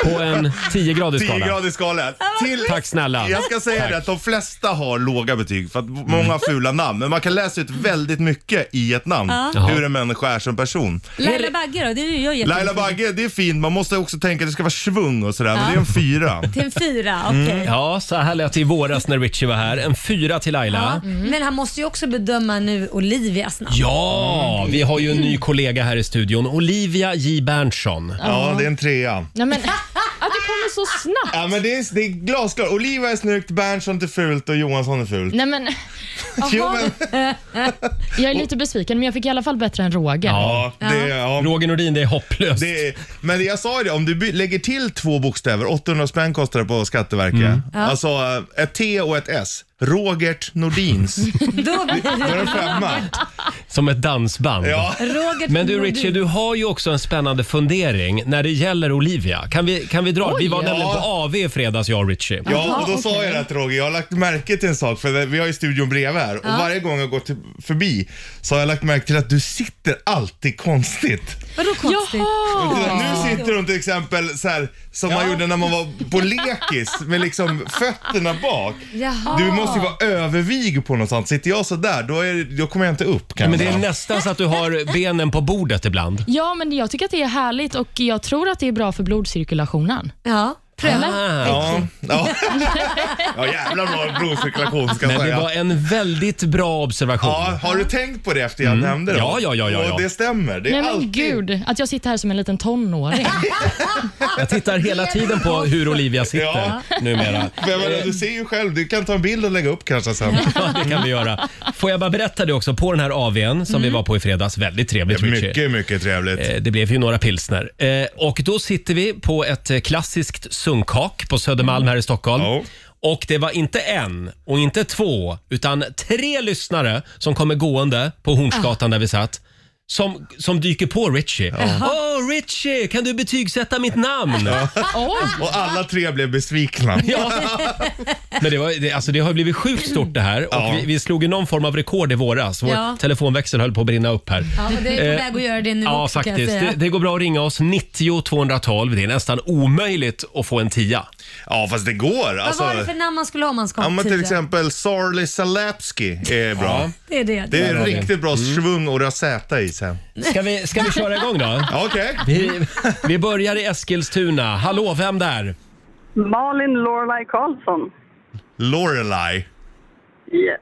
A: På en 10-gradig skala.
H: 10-gradig skala. Till...
A: Tack Mm. snälla.
H: Jag ska säga det att de flesta har låga betyg för att många har fula namn. Men man kan läsa ut väldigt mycket i ett namn. Hur en människa är som person.
C: Laila Bagge då? Det är ju jag jättefint.
H: Laila Bagge, det är fint. Man måste också tänka att det ska vara svung och sådär. Men det är en fyra.
C: Till en fyra,
A: Mm.
C: okej.
A: Ja, så här lät det i våras när Richie var här. En fyra till Laila.
C: Ja. Men han måste ju också bedöma nu Olivias namn.
A: Ja, vi har ju en ny kollega här i studion. Olivia J Berntsson.
H: Ja, det är en trea.
D: Nej, men, att du kommer så snabbt.
H: Ja, men det är, det är glasklart. Oliva är snyggt, Berntsson är fult och Johansson är fult.
D: Nej, men,
H: Jo,
D: jaha,
H: men,
D: jag är lite besviken, men jag fick i alla fall bättre än Roger.
H: ja, det, ja,
A: Roger Nordin, det är hopplöst.
H: Det är, men jag sa ju det, om du by- lägger till två bokstäver, 800 spänn kostar det på Skatteverket. Alltså eh, ett T och ett S. Robert Nordins.
C: Då blir
H: Då är
C: det
H: det en femma.
A: Som ett dansband.
H: Ja.
C: Roger
A: Men du
C: Nordin.
A: Richie, du har ju också en spännande fundering när det gäller Olivia. Kan vi, kan vi dra? Vi var
D: Oj.
A: nämligen på AV i fredags jag och Richie.
H: Ja, och då sa
D: okej.
H: jag det till Roger. Jag har lagt märke till en sak, för vi har ju studion bredvid här. Och varje gång jag går till, förbi så har jag lagt märke till att du sitter alltid konstigt.
C: Vadå konstigt?
H: Och så- Nu sitter hon till exempel så här som man gjorde när man var på lekis med liksom fötterna bak.
C: Jaha.
H: Du måste ju vara övervig på något sånt. Sitter jag så där, då, är, då kommer jag inte upp kan
A: Men Det är nästan så att du har benen på bordet ibland.
D: Ja, men jag tycker att det är härligt och jag tror att det är bra för blodcirkulationen.
C: Ja, pröva.
A: Ah.
H: Ja, ja. ja jävlar bra blodcirkulation ska jag
A: Men det
H: säga.
A: var en väldigt bra observation.
H: Ja, har du tänkt på det efter jag nämnde det?
A: Mm. Ja, ja, ja, ja, ja.
H: Och det stämmer. Det är
D: Nej men
H: alltid...
D: gud, att jag sitter här som en liten tonåring.
A: Jag tittar hela tiden på hur Olivia sitter
H: Ja.
A: numera.
H: Men, men, du ser ju själv, du kan ta en bild och lägga upp kanske sen.
A: Ja, det kan vi göra. Får jag bara berätta det också, på den här AWn som vi var på i fredags, väldigt trevligt Richie.
H: Mm. Mycket, mycket trevligt.
A: Eh, Det blev ju några pilsner. Eh, Och då sitter vi på ett eh, klassiskt sunkak på Södermalm här i Stockholm.
H: Ja.
A: Och det var inte en och inte två, utan tre lyssnare som kommer gående på Hornsgatan där vi satt. Som, som dyker på Richie. Åh Richie, kan du betygsätta mitt namn?
H: Och alla tre blev besvikna.
A: Ja. Men det, var, det, alltså det har blivit sjukt stort det här och
H: Ja.
A: vi, vi slog ju någon form av rekord i våras. Vår
C: Ja.
A: telefonväxel höll på att brinna upp här.
C: Ja, det är på
A: Eh,
C: väg att göra det nu
A: Ja,
C: också kan jag
A: faktiskt.
C: säga.
A: Det, det går bra att ringa oss 90 212. Det är nästan omöjligt att få en tia.
H: Ja, fast det går.
C: Vad
H: Alltså,
C: var det för namn man skulle ha om man
H: ja,
C: skapade
H: men till exempel Sarli Salapski är bra.
C: Det är det.
H: Det
C: det.
H: är riktigt bra svung och rösäta i sen.
A: Ska vi, ska vi köra igång då?
H: Ja, Okej.
A: Vi, vi börjar i Eskilstuna. Hallå, vem där?
I: Malin Lorelai Karlsson.
H: Lorelai.
I: Yes.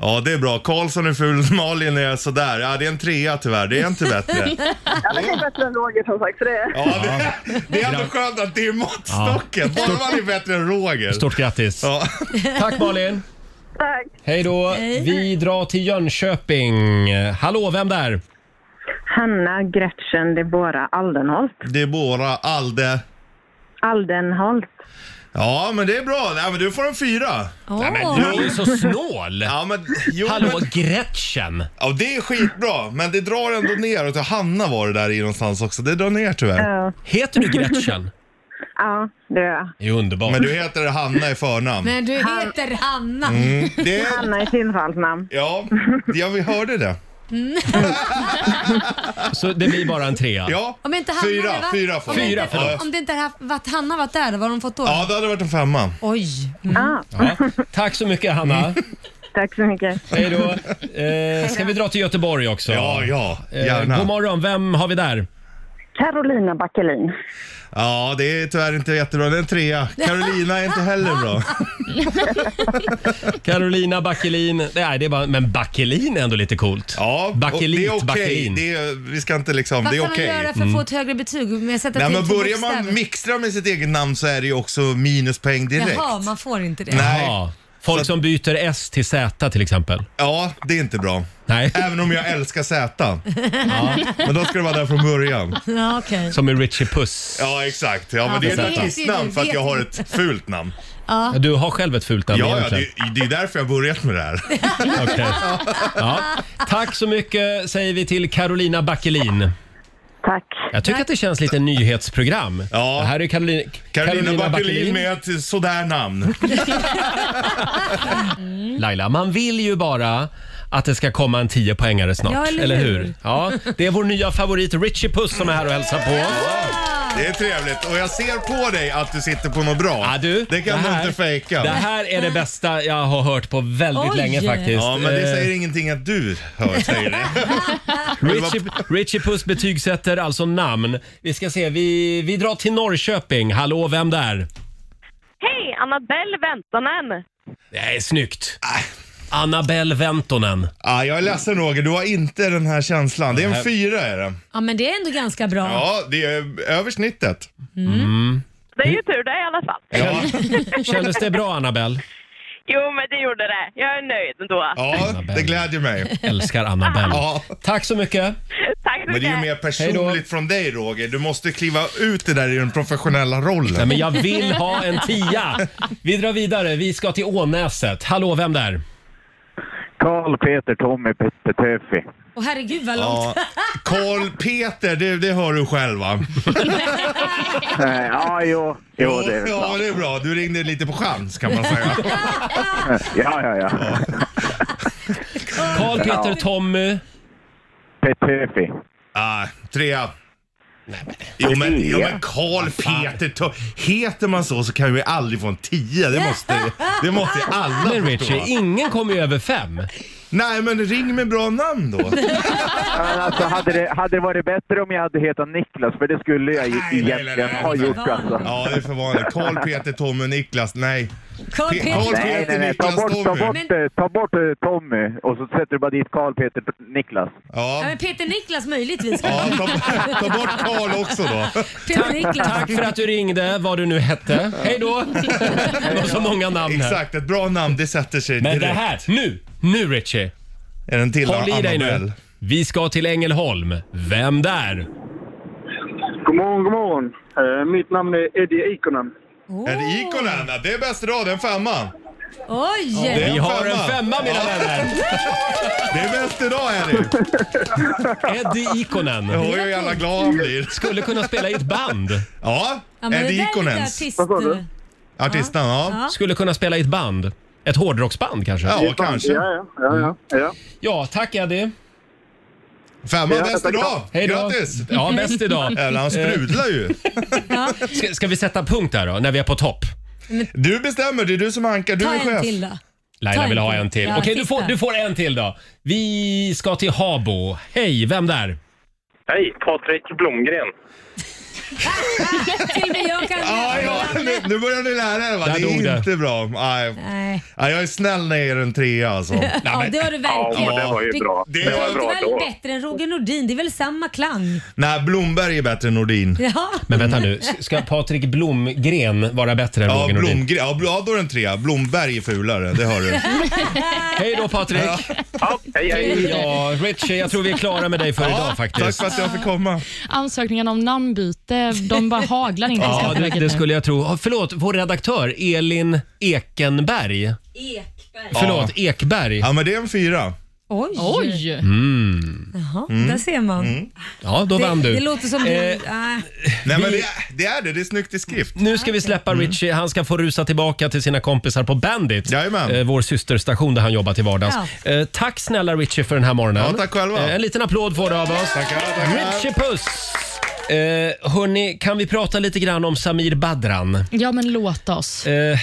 H: Ja, det är bra. Karlsson är ful, Malin är sådär. Ja, det är en trea tyvärr. Det är inte bättre.
I: Ja, det är bättre än Roger som sagt. Så det är.
H: Ja, det, det är ändå skönt att det är måttstocken. Bara man är bättre än Roger.
A: Stort grattis.
H: Ja.
A: Tack Malin.
I: Tack.
A: Hej då. Vi drar till Jönköping. Hallå, vem där?
I: Hanna Gretchen Debora Aldenholt.
H: Det är bara Alde.
I: Aldenholt.
H: Ja, men det är bra. Nej, men du får en fyra.
A: Nej, men du är ju så snål.
H: Ja, men, jo,
A: Hallå,
H: Men,
A: Gretchen.
H: ja, det är skitbra, men det drar ändå neråt. Och Hanna var det där i någonstans också. Det drar ner tyvärr.
I: Ja,
A: Heter du Gretchen?
I: ja det är jag.
A: Det är underbart.
H: Men du heter Hanna i förnamn.
C: Men du heter Hanna.
H: Mm, det,
I: Hanna är synfalt namn.
H: ja, ja, vi hörde det.
A: Så det blir bara en trea.
H: Ja,
C: Om inte Hanna
H: fyra,
C: hade varit-
H: fyra,
C: om
H: får
A: Fyra,
H: man.
A: förlåt.
C: Om det inte hade varit Hanna varit där, vad har de fått då?
H: Ja, Mm, det hade varit en femma.
C: Oj.
I: Ja,
A: Ja. Tack så mycket Hanna.
I: tack så mycket.
A: Hej då. Eh, ska vi dra till Göteborg också?
H: Ja, ja,
A: Eh, god
H: gärna.
A: morgon, vem har vi där?
I: Carolina Backelin.
H: Ja, det är tyvärr inte jättebra. Det är en trea. Carolina är inte heller bra.
A: Carolina Backelin. Nej, det är bara, men Backelin är ändå lite coolt.
H: Ja, och
A: Backelit,
H: det är okej.
A: Backelin.
H: Det är- Vi ska inte liksom,
C: Vad
H: det är
C: kan
H: okej.
C: man göra för att få ett högre betyg? Med att sätta
H: Nej,
C: till
H: men
C: två
H: börjar man
C: bokstäver?
H: mixtra med sitt eget namn så är det ju också minuspoäng direkt.
C: Jaha, man får inte det.
H: Nej.
A: Ja. Folk
H: Så-
A: som byter S till Z till exempel.
H: Ja, det är inte bra.
A: Nej,
H: Även om jag älskar Z. Men då ska det vara där från början.
C: Ja, okej.
A: som i Richie Puss.
H: Ja, exakt. Ja, men det
A: det
H: är ett
C: vet vi, det
H: artistnamn för att
C: vet
H: jag har
C: vi.
H: ett fult namn.
A: Du har själv ett fult namn
H: Ja, ja
A: egentligen.
H: det, det är därför jag börjat med det här.
A: Okej. Ja. Tack så mycket säger vi till Carolina Backelin.
I: Tack.
A: Jag tycker att det känns lite nyhetsprogram.
H: Ja.
A: Det här är Carolina,
H: Carolina Baculin med ett sådär namn.
A: Laila, man vill ju bara att det ska komma en 10 poängare snart.
C: Ja, eller hur?
A: Ja, det är vår nya favorit Richie Puss som är här och hälsar på.
H: Det är trevligt. Och jag ser på dig att du sitter på något bra.
A: Ja, du,
H: det kan
A: det
H: du
A: här-
H: inte fejka.
A: Det här är det bästa jag har hört på väldigt
C: Oj.
A: länge faktiskt.
H: Ja, men det
A: Eh,
H: säger ingenting att du hör, säger det.
A: Richie, Richie Puss betygsätter alltså namn. Vi ska se, vi, vi drar till Norrköping. Hallå, vem där?
I: Hej, Annabelle Väntanen.
A: Nej, snyggt. Annabelle Ventonen.
H: Ah, jag är ledsen Roger, du har inte den här känslan. Det är en
A: Nej.
H: fyra är det.
C: Ja, men det är ändå ganska bra.
H: Ja, det är över snittet.
I: Det är ju tur det i alla fall.
H: Ja,
A: Kändes det bra, Annabelle?
I: Jo, men det gjorde det. Jag är nöjd ändå.
H: ja det glädjer mig.
A: Älskar Annabelle.
H: Ja.
A: Tack så mycket.
I: Tack så
H: Men det är ju mer
A: Hej då.
H: personligt från dig Roger. Du måste kliva ut det där i den professionella
A: Nej,
H: rollen.
A: men jag vill ha en tia. Vi drar vidare. Vi ska till Ånäset. Hallå, vem där?
J: Karl, Peter, Tommy, Petter, Töffi.
C: Och herregud vad långt.
H: Ja. Karl Peter, det, det hör du själv va?
J: Nej, Eh, ja, jo. Jo, det är väl
H: ja,
J: klart.
H: det är bra. Du ringde lite på chans kan man säga.
J: Ja, ja, ja.
A: Karl, Peter, Tommy.
J: Petter, Töffi.
H: Ah, trea. Jo men, jo men Karl Peter, to- heter man så så kan vi aldrig få en tia. Det måste, det måste alla
A: Men
H: förstå.
A: Richie, ingen kommer ju över fem.
H: Nej, men ring med bra namn då.
J: Men alltså, hade, det, hade det varit bättre om jag hade hetat Niklas? För det skulle jag ju egentligen ha gjort alltså.
H: Ja, det är för vanligt. Karl, Peter, Tommy, Niklas. Nej.
C: Carl
H: Pe-
C: Peter.
H: Carl
J: Nej, nej,
H: Peter,
J: nej. Ta
H: Niklas,
J: bort, ta
H: Tommy.
J: bort, eh, ta bort eh, Tommy och så sätter du bara dit Karl Peter P- Niklas.
C: Ja,
H: Ja,
C: men Peter Niklas möjligtvis.
H: ja ta, ta bort Karl också då.
C: Peter Niklas.
A: Tack för att du ringde, vad du nu hette. Hej då! Det var så många namn här.
H: Exakt, ett bra namn det sätter sig
A: Men
H: direkt.
A: det här, nu, nu Richie.
H: Är den till
A: Håll i dig nu.
H: Annabelle?
A: Vi ska till Ängelholm. Vem där?
E: God morgon, god morgon. Eh, mitt namn är Eddie Ikonen.
H: Är det Ikonen? Ja, Det är bäst idag, det är en femma.
C: Oj!
H: Det är
A: Vi
H: en
A: har en femma mina
H: Ja,
A: vänner.
H: Det är bäst idag Henrik.
A: Eddie Ikonen.
H: Oj, hur jävla glad han blir.
A: Skulle kunna spela i ett band.
H: Ja,
C: Ja, men
H: är
C: det
H: det
C: där är lite
H: Ikonens?
C: artist...
E: Vad sa du?
H: Artisten, ja.
A: Skulle kunna spela i ett band. Ett hårdrocksband kanske?
H: Ja, kanske.
E: Ja, ja, ja. ja, ja.
A: Ja, tack Eddie.
H: Femma
E: Ja,
H: bäst
E: tack.
H: idag.
A: Hej då.
H: Grattis!
A: Ja, Eh. bäst idag.
H: Jävlar, han sprudlar ju.
A: Ska, ska vi sätta punkt där då, när vi är på topp?
H: Du bestämmer, det är du som ankar, du
C: Ta en
H: är chef.
C: till då. Ta
A: Laila
C: en
A: vill ha
C: till.
A: en till.
C: Ja,
A: Okej, du
C: sista.
A: får, du får en till då. Vi ska till Habo. Hej, vem där?
E: Hej, Patrik Blomgren.
C: Till och med jag kan...
H: Ja, ja, nu- nu börjar ni lära er va?
A: Där
H: Det
A: dog det.
H: är inte bra. Nej.
C: Nej.
H: Nej, jag är snäll när jag ger en trea alltså.
C: Ja, det har du
E: Ja, men
C: verkligen.
E: det var ju
C: Det-
E: bra.
H: det
E: Det,
C: Det
H: var
C: är
E: var en
C: inte
E: bra
C: väl
E: låt.
C: bättre än Roger Nordin? Det är väl samma klang?
H: Nej, Blomberg är bättre än Nordin.
C: Ja.
A: Men vänta nu,
C: Mm.
A: s- ska Patrik Blomgren vara bättre än
H: Ja,
A: Roger Nordin?
H: Blomgren. Ja, Bl- ja, då är det en trea. Blomberg är fulare, det hör du.
A: Hej då Patrik!
E: Ja, hej, hej.
A: Ja, Richie, jag tror vi är klara med dig för idag
H: Tack
A: faktiskt.
H: för att jag fick komma.
D: Ansökningarna om namnbyte, de bara haglar in till
A: Ja, det,
D: Skatteverket
A: det
D: nu.
A: skulle jag tro. Ah, förlåt, vår redaktör Elin Ekenberg.
C: Ekberg.
A: Förlåt, Ekberg.
H: Ja, men det är en fyra.
C: Oj!
D: Oj!
H: Mm.
C: Jaha,
E: Mm.
C: där ser man.
A: Ja, då vann
C: Det, det
A: du.
C: låter som...
A: Eh,
C: nej.
H: Nej,
A: Vi-
H: men det, det är det. Det är snyggt i skrift.
A: Nu ska vi släppa
H: Mm.
A: Richie. Han ska få rusa tillbaka till sina kompisar på Bandit.
H: Jajamän.
A: Eh, Vår systerstation där han jobbar till vardags. Eh, Tack snälla Richie för den här morgonen.
H: Ja, tack själva.
A: Eh, En liten applåd får du av oss.
H: Tackar, tackar.
A: Richie Puss! Eh, hörni, kan vi prata lite grann om Samir Badran?
D: Ja, men låt oss.
A: Eh,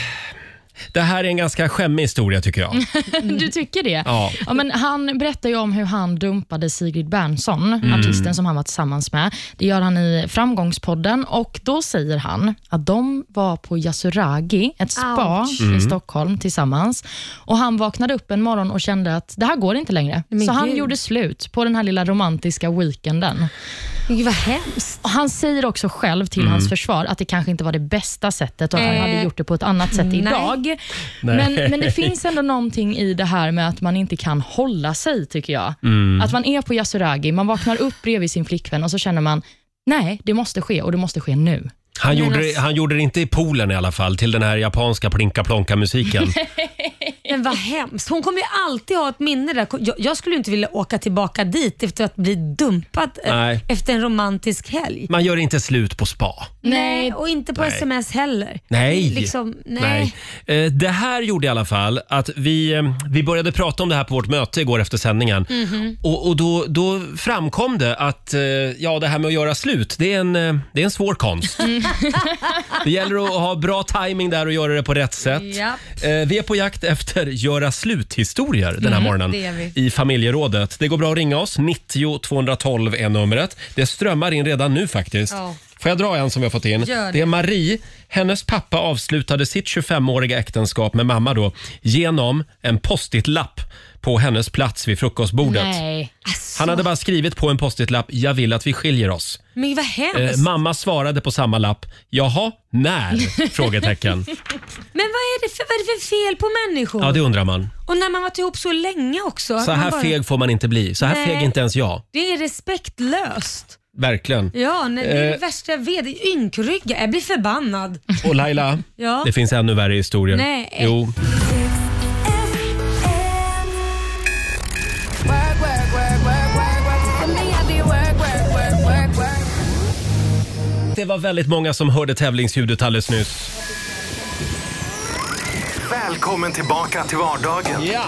A: det här är en ganska skämmig historia tycker jag.
D: Du tycker det?
A: Ja.
D: men han berättar ju om hur han dumpade Sigrid Bernson, artisten som han var tillsammans med. Det gör han i Framgångspodden och då säger han att de var på Yasuragi, ett spa i Stockholm tillsammans. Och Han vaknade upp en morgon och kände att det här går inte längre.
C: Men
D: Så han
C: gud.
D: gjorde slut på den här lilla romantiska weekenden.
C: Gud vad hemskt.
D: Och han säger också själv till hans försvar att det kanske inte var det bästa sättet och han
C: Eh,
D: hade gjort det på ett annat sätt
C: nej.
D: idag. Men, men det finns ändå någonting i det här med att man inte kan hålla sig, tycker jag. Att man är på Yasuragi, man vaknar upp bredvid sin flickvän och så känner man, nej, det måste ske och det måste ske nu.
A: Han, gjorde, det- han gjorde det inte i poolen i alla fall till den här japanska plinka-plonka-musiken.
C: Men vad hemskt. Hon kommer ju alltid ha ett minne där. Jag, jag skulle ju inte vilja åka tillbaka dit efter att bli dumpad eh,
A: Nej.
C: efter en romantisk helg.
A: Man gör inte slut på spa.
C: Nej, och inte på sms heller.
A: Nej.
C: Liksom, nej.
A: Nej. Eh, Det här gjorde i alla fall att vi, eh, vi började prata om det här på vårt möte igår efter sändningen.
C: Mhm.
A: Och, och då, då framkom det att eh, ja, det här med att göra slut, det är en, eh, det är en svår konst.
C: Mm.
A: det gäller att ha bra timing där och göra det på rätt sätt.
C: Japp.
A: Eh, Vi är på jakt efter göra slut-historier den här morgonen
C: Mhm, det är vi.
A: i familjerådet. Det går bra att ringa oss. 90 212 är numret. Det strömmar in redan nu faktiskt.
C: Ja.
A: Får jag dra en som vi har fått in?
C: Gör det.
A: är Marie. Hennes pappa avslutade sitt 25-åriga äktenskap med mamma då genom en post-it-lapp på hennes plats vid frukostbordet.
D: Nej.
C: Alltså,
A: Han hade bara skrivit på en post-it-lapp “Jag vill att vi skiljer oss”.
C: Men vad hemskt.
A: Eh, mamma svarade på samma lapp “Jaha, när?” frågetecken.
C: Men vad är, det för, vad är det för fel på människor?
A: Ja, det undrar man.
C: Och när man varit ihop så länge också.
A: Så
C: man
A: här feg får man inte bli. Så här
C: Nej.
A: feg är inte ens jag.
C: Det är respektlöst.
A: Verkligen.
C: Ja, nej, det är det
A: Eh.
C: värsta jag vet. Det är Ynkrygga. Jag blir förbannad.
A: Och Laila,
C: Ja.
A: det finns ännu värre historier.
C: Nej.
A: Jo. Det var väldigt många som hörde tävlingsljudet alldeles nyss.
B: Välkommen tillbaka till vardagen.
A: Ja.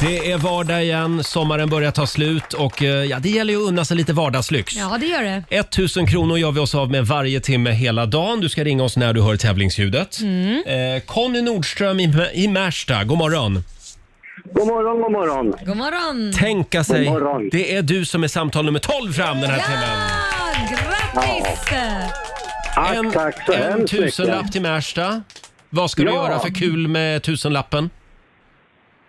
A: Det är vardag igen, sommaren börjar ta slut och eh, ja, det gäller ju att unna sig lite vardagslyx.
C: Ja, det gör det.
A: 1000 kronor gör vi oss av med varje timme hela dagen. Du ska ringa oss Mm. när du hör tävlingsljudet. Eh, Conny Nordström i, i Märsta, god morgon.
E: God morgon, god morgon.
C: God morgon!
A: Tänka sig,
E: God morgon.
A: det är du som är samtal nummer 12 fram den här timmen.
C: Ah, grattis!
E: Tack,
A: En,
E: tack så
A: en
E: hemskt
A: tusenlapp
E: mycket.
A: till Märsta. Vad ska du
E: Ja.
A: göra för kul med tusenlappen?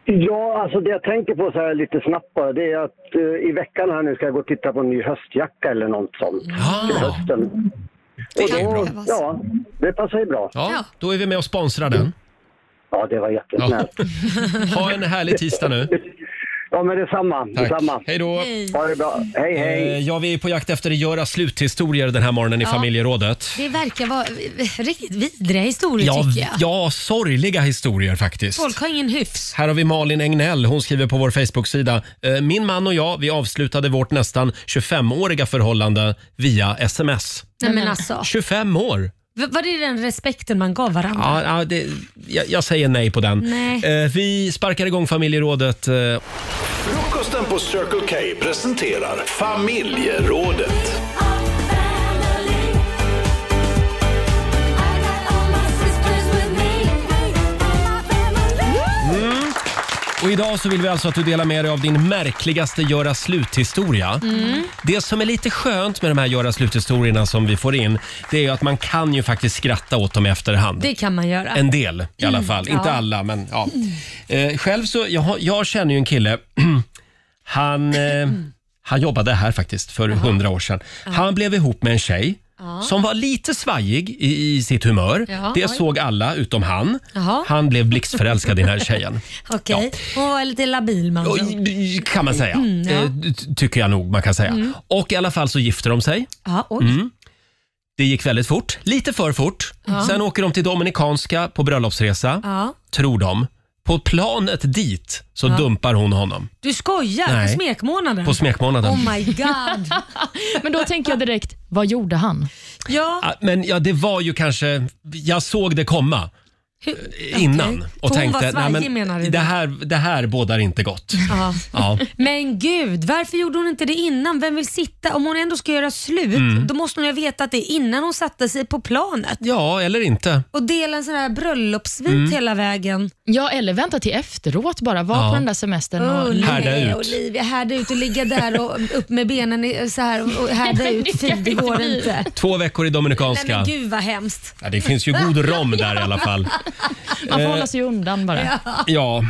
E: Ja, alltså det jag tänker på så här lite snabbt bara, det är att eh, i veckan här nu ska jag gå och titta på en ny höstjacka eller något sånt. Till
A: Ah,
E: hösten.
A: det är bra.
E: Ja, det passar ju bra.
A: Ja, då är vi med och sponsrar den.
E: Ja, det var jättesnällt. Ja,
A: Ha en härlig tisdag nu.
E: men detsamma. detsamma.
A: Hej då.
E: Ha det bra. Hej, hej.
A: Eh, Ja, vi är på jakt efter att göra sluthistorier den här morgonen i
C: Ja.
A: familjerådet.
C: Det verkar vara eh, riktigt vidriga historier
A: Ja,
C: tycker jag.
A: ja, sorgliga historier faktiskt.
C: Folk har ingen hyfs.
A: Här har vi Malin Engnell. Hon skriver på vår Facebook-sida. eh, Min man och jag, vi avslutade vårt nästan 25-åriga förhållande via sms.
C: Nej men alltså,
A: 25 år!
C: v- var det den respekten man gav varandra?
A: Ja, ja, det, jag, jag säger nej på den.
C: Nej.
A: Eh, Vi sparkar igång familjerådet. eh,
B: Frukosten på Circle K presenterar familjerådet.
A: Och idag så vill vi alltså att du delar med dig av din märkligaste göra slut-historia.
C: Mm.
A: Det som är lite skönt med de här göra slut-historierna som vi får in, det är ju att man kan ju faktiskt skratta åt dem i efterhand.
C: Det kan man göra.
A: En del i alla
C: Mm,
A: fall.
C: ja. Mm.
A: Inte alla, men ja. Eh, själv så, jag, har- jag känner ju en kille. han, eh,
C: Mm.
A: han jobbade här faktiskt för hundra år sedan. Han blev ihop med en tjej. Som var lite svajig i, i sitt humör.
C: Ja,
A: det
C: oj.
A: såg alla utom han.
C: Jaha.
A: Han blev blixtförälskad i den här tjejen.
C: Okej, hon var lite labil man
A: Och, kan man säga.
C: Alltså, mm, ja. Mm.
A: Eh, ty- Tycker jag nog man kan säga. Och i alla fall så gifter de sig.
C: Ja, oj.
A: Mm. Det gick väldigt fort. Lite för fort. Sen åker de till Dominikanska på bröllopsresa.
C: Ja.
A: Tror de. På planet dit så dumpar hon honom.
C: Du skojar?
A: Nej.
C: På smekmånaden?
A: På smekmånaden.
C: Oh my god.
D: Men då tänker jag direkt, vad gjorde han?
C: Ja,
A: Ah, Men ja, det var ju kanske... Jag såg det komma Eh,
C: hur-
A: innan
C: Okej.
A: och
C: För hon
A: tänkte
C: var svajig,
A: nej,
C: menar du?
A: men, det, här, det här bådar inte gott.
C: Ja.
A: Ja.
C: Men gud, varför gjorde hon inte det innan? Vem vill sitta? Om hon ändå ska göra slut,
A: Mm.
C: då måste hon ju veta att det är innan hon satte sig på planet.
A: ja, eller inte.
C: Och dela en sån här bröllopsvit
A: Mm.
C: hela vägen.
D: Ja, eller vänta till efteråt bara. Var
A: Ja.
D: på den där semestern och...
C: Oh,
A: Härda
C: nej,
A: ut.
C: Olivia, härda ut och ligga där och upp med benen i- så här och härda ut. Fy, det går inte.
A: Två veckor i
C: Nej
A: Dominikanska.
C: men gud vad hemskt.
A: Ja, det finns ju god rom där i alla fall.
D: Man får hålla sig undan bara.
A: Ja,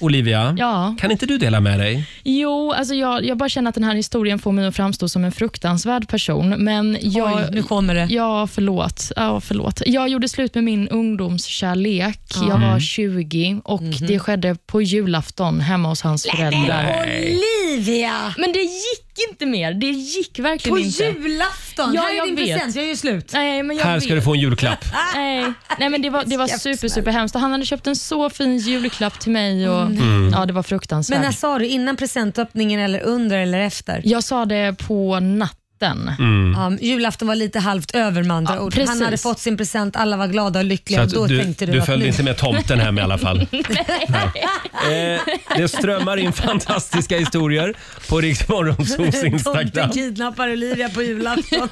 A: Olivia.
D: Ja.
A: Kan inte du dela med dig?
D: Jo, alltså jag, jag bara känner att den här historien får mig att framstå som en fruktansvärd person. Men jag,
C: Oj, nu kommer det.
D: Ja, förlåt. ja, förlåt. Jag gjorde slut med min ungdomskärlek. Jag
C: Mm.
D: var 20 och
C: Mhm.
D: det skedde på julafton hemma hos hans föräldrar.
C: Olivia!
D: Men det gick inte mer. Det gick verkligen
C: På
D: inte.
C: julafton!
D: Ja,
C: här är
D: jag
C: din
D: vet.
C: present, jag är ju slut.
D: Nej, men jag
A: Här
D: vet.
A: ska du få en julklapp.
D: Nej, nej men det var, det var super, super hemskt. Och Han hade köpt en så fin julklapp till mig och ja, det var fruktansvärt.
C: Men alltså- när sa du? Innan presentöppningen eller under eller efter?
D: Jag sa det på natten.
A: Mm.
C: Ja, julafton var lite halvt över med andra
D: Ja,
C: ord.
D: precis.
C: Han hade fått sin present, alla var glada och lyckliga.
A: Så
C: och då
A: att du,
C: tänkte du,
A: du
C: att
A: följde
C: nu...
A: inte med tomten hem i alla fall. Nej. Eh, det strömmar in fantastiska historier på Riksmorgonsols Instagram.
C: Tomten kidnappar Olivia på julafton.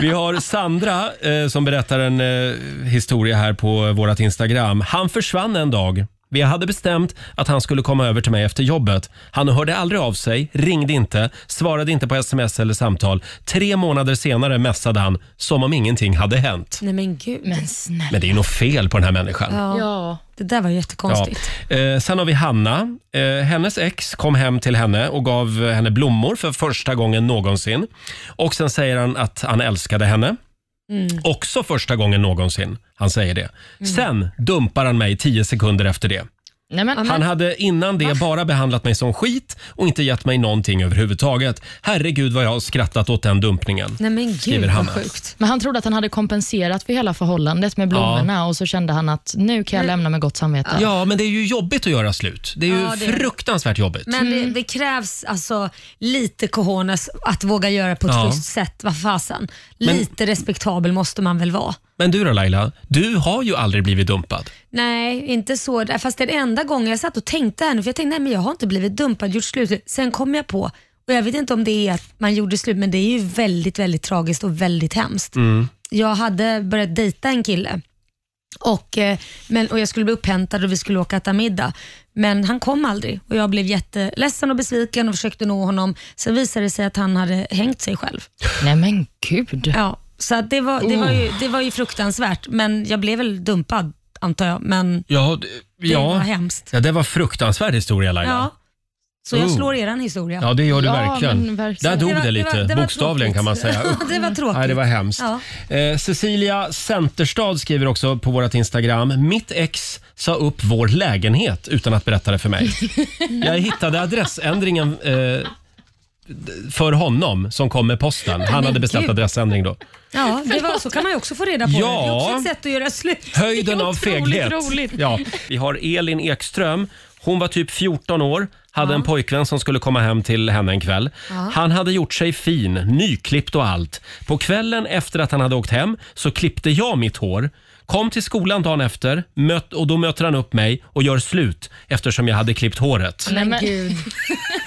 A: Vi har Sandra eh, som berättar en eh, historia här på vårt Instagram. Han försvann en dag. Vi hade bestämt att han skulle komma över till mig efter jobbet. Han hörde aldrig av sig, ringde inte, svarade inte på sms eller samtal. Tre månader senare messade han som om ingenting hade hänt.
C: Nej men gud.
D: Men snälla.
A: Men det är ju något fel på den här människan.
C: Ja,
D: Ja.
C: Det där var
A: Ja.
C: jättekonstigt.
A: Eh, sen har vi Hanna. Eh, hennes ex kom hem till henne och gav eh, henne blommor för första gången någonsin. Och sen säger han att han älskade henne.
C: Mm.
A: Också första gången någonsin. Han säger det. Sen dumpar han mig tio sekunder efter det.
D: Nej, men,
A: Han hade innan det bara behandlat mig som skit och inte gett mig någonting överhuvudtaget. Herregud vad jag har skrattat åt den dumpningen.
C: Nej men
A: Skriver
C: gud vad
A: Hanna.
C: sjukt.
D: men han trodde att han hade kompenserat för hela förhållandet med blommorna och så kände han att nu kan jag lämna med gott samvete.
A: Ja, men det är ju jobbigt att göra slut. Det är ju
C: Ja, det är det.
A: fruktansvärt jobbigt.
C: Men det, det krävs alltså lite cojones att våga göra på ett
A: Ja.
C: schysst sätt. Vad fasen. Lite respektabel måste man väl vara?
A: Men du då Laila, du har ju aldrig blivit dumpad.
C: Nej, inte så. Fast den enda gången jag satt och tänkte här nu, för jag tänkte nej men jag har inte blivit dumpad, gjort slut. Sen kom jag på, och jag vet inte om det är att man gjorde slut, men det är ju väldigt, väldigt tragiskt och väldigt hemskt. Jag hade börjat dejta en kille Och, eh, men, och jag skulle bli upphämtad och vi skulle åka och äta middag. Men han kom aldrig och jag blev jätteledsen och besviken och försökte nå honom. Sen visade det sig att han hade hängt sig själv.
D: Nej men gud.
C: Ja, så att det, var, det, var ju,
D: Oh.
C: det var ju fruktansvärt, men jag blev väl dumpad antar jag. Men
A: Ja, d-
C: Det
A: ja.
C: var hemskt.
A: Ja, det var fruktansvärd historia Laila.
C: ja, så jag
A: Oh.
C: slår er historia.
A: Ja, det gör du verkligen. Där dog det,
C: var-
A: lite,
C: var- var
A: bokstavligen
C: tråkigt.
A: kan man säga.
C: Ja, det var tråkigt.
A: Nej, det var hemskt.
C: Ja.
A: Eh, Cecilia Centerstad skriver också på vårt Instagram. Mitt ex sa upp vår lägenhet utan att berätta det för mig. Jag hittade adressändringen eh, d- för honom som kom med posten. Han
C: Men
A: hade beställt
C: gud.
A: adressändring då.
C: Ja, det var, så kan man ju också få reda på det. Det är också
A: Ja.
C: ett sätt att göra slut.
A: Höjden av feghet.
C: roligt.
A: Ja. Vi har Elin Ekström. Hon var typ 14 år, hade en pojkvän som skulle komma hem till henne en kväll.
G: Ja.
A: Han hade gjort sig fin, nyklippt och allt. På kvällen efter att han hade åkt hem så klippte jag mitt hår. Kom till skolan dagen efter möt, och då möter han upp mig och gör slut eftersom jag hade klippt håret.
C: Nej, men gud.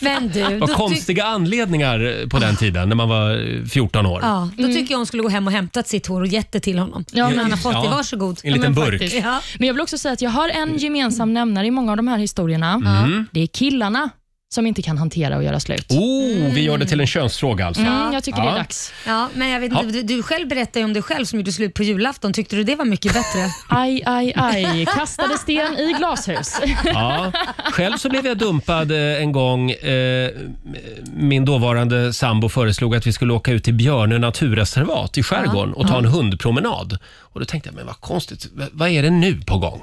C: Men du, då
A: Vad
C: ty- Ah.
A: konstiga anledningar på den tiden när man var eh, 14 år.
C: Ja, då tycker jag hon skulle gå hem och hämtat sitt hår och gett det till honom.
A: Ja,
C: Ja,
A: men-
C: men han har fått det,
A: Ja.
C: varsågod.
A: En liten
C: ja,
A: burk.
C: faktiskt. Ja.
D: Men jag vill också säga att jag har en gemensam nämnare i många av de här historierna.
A: Mm.
D: Det är killarna som inte kan hantera att göra slut.
A: Oh, vi gör det till en könsfråga alltså.
D: Mm, jag tycker det är
A: Ja.
D: dags.
C: Ja, men jag vet inte, du, du själv berättade ju om dig själv som gjorde slut på julafton. Tyckte du det var mycket bättre?
D: aj, aj, aj. Kastade sten i glashus.
A: Ja. Själv så blev jag dumpad eh, en gång. Eh, Min dåvarande sambo föreslog att vi skulle åka ut till Björnö naturreservat i skärgården
G: Ja,
A: och ta
G: ja.
A: en hundpromenad. Och Då tänkte jag, men vad konstigt, v- vad är det nu på gång?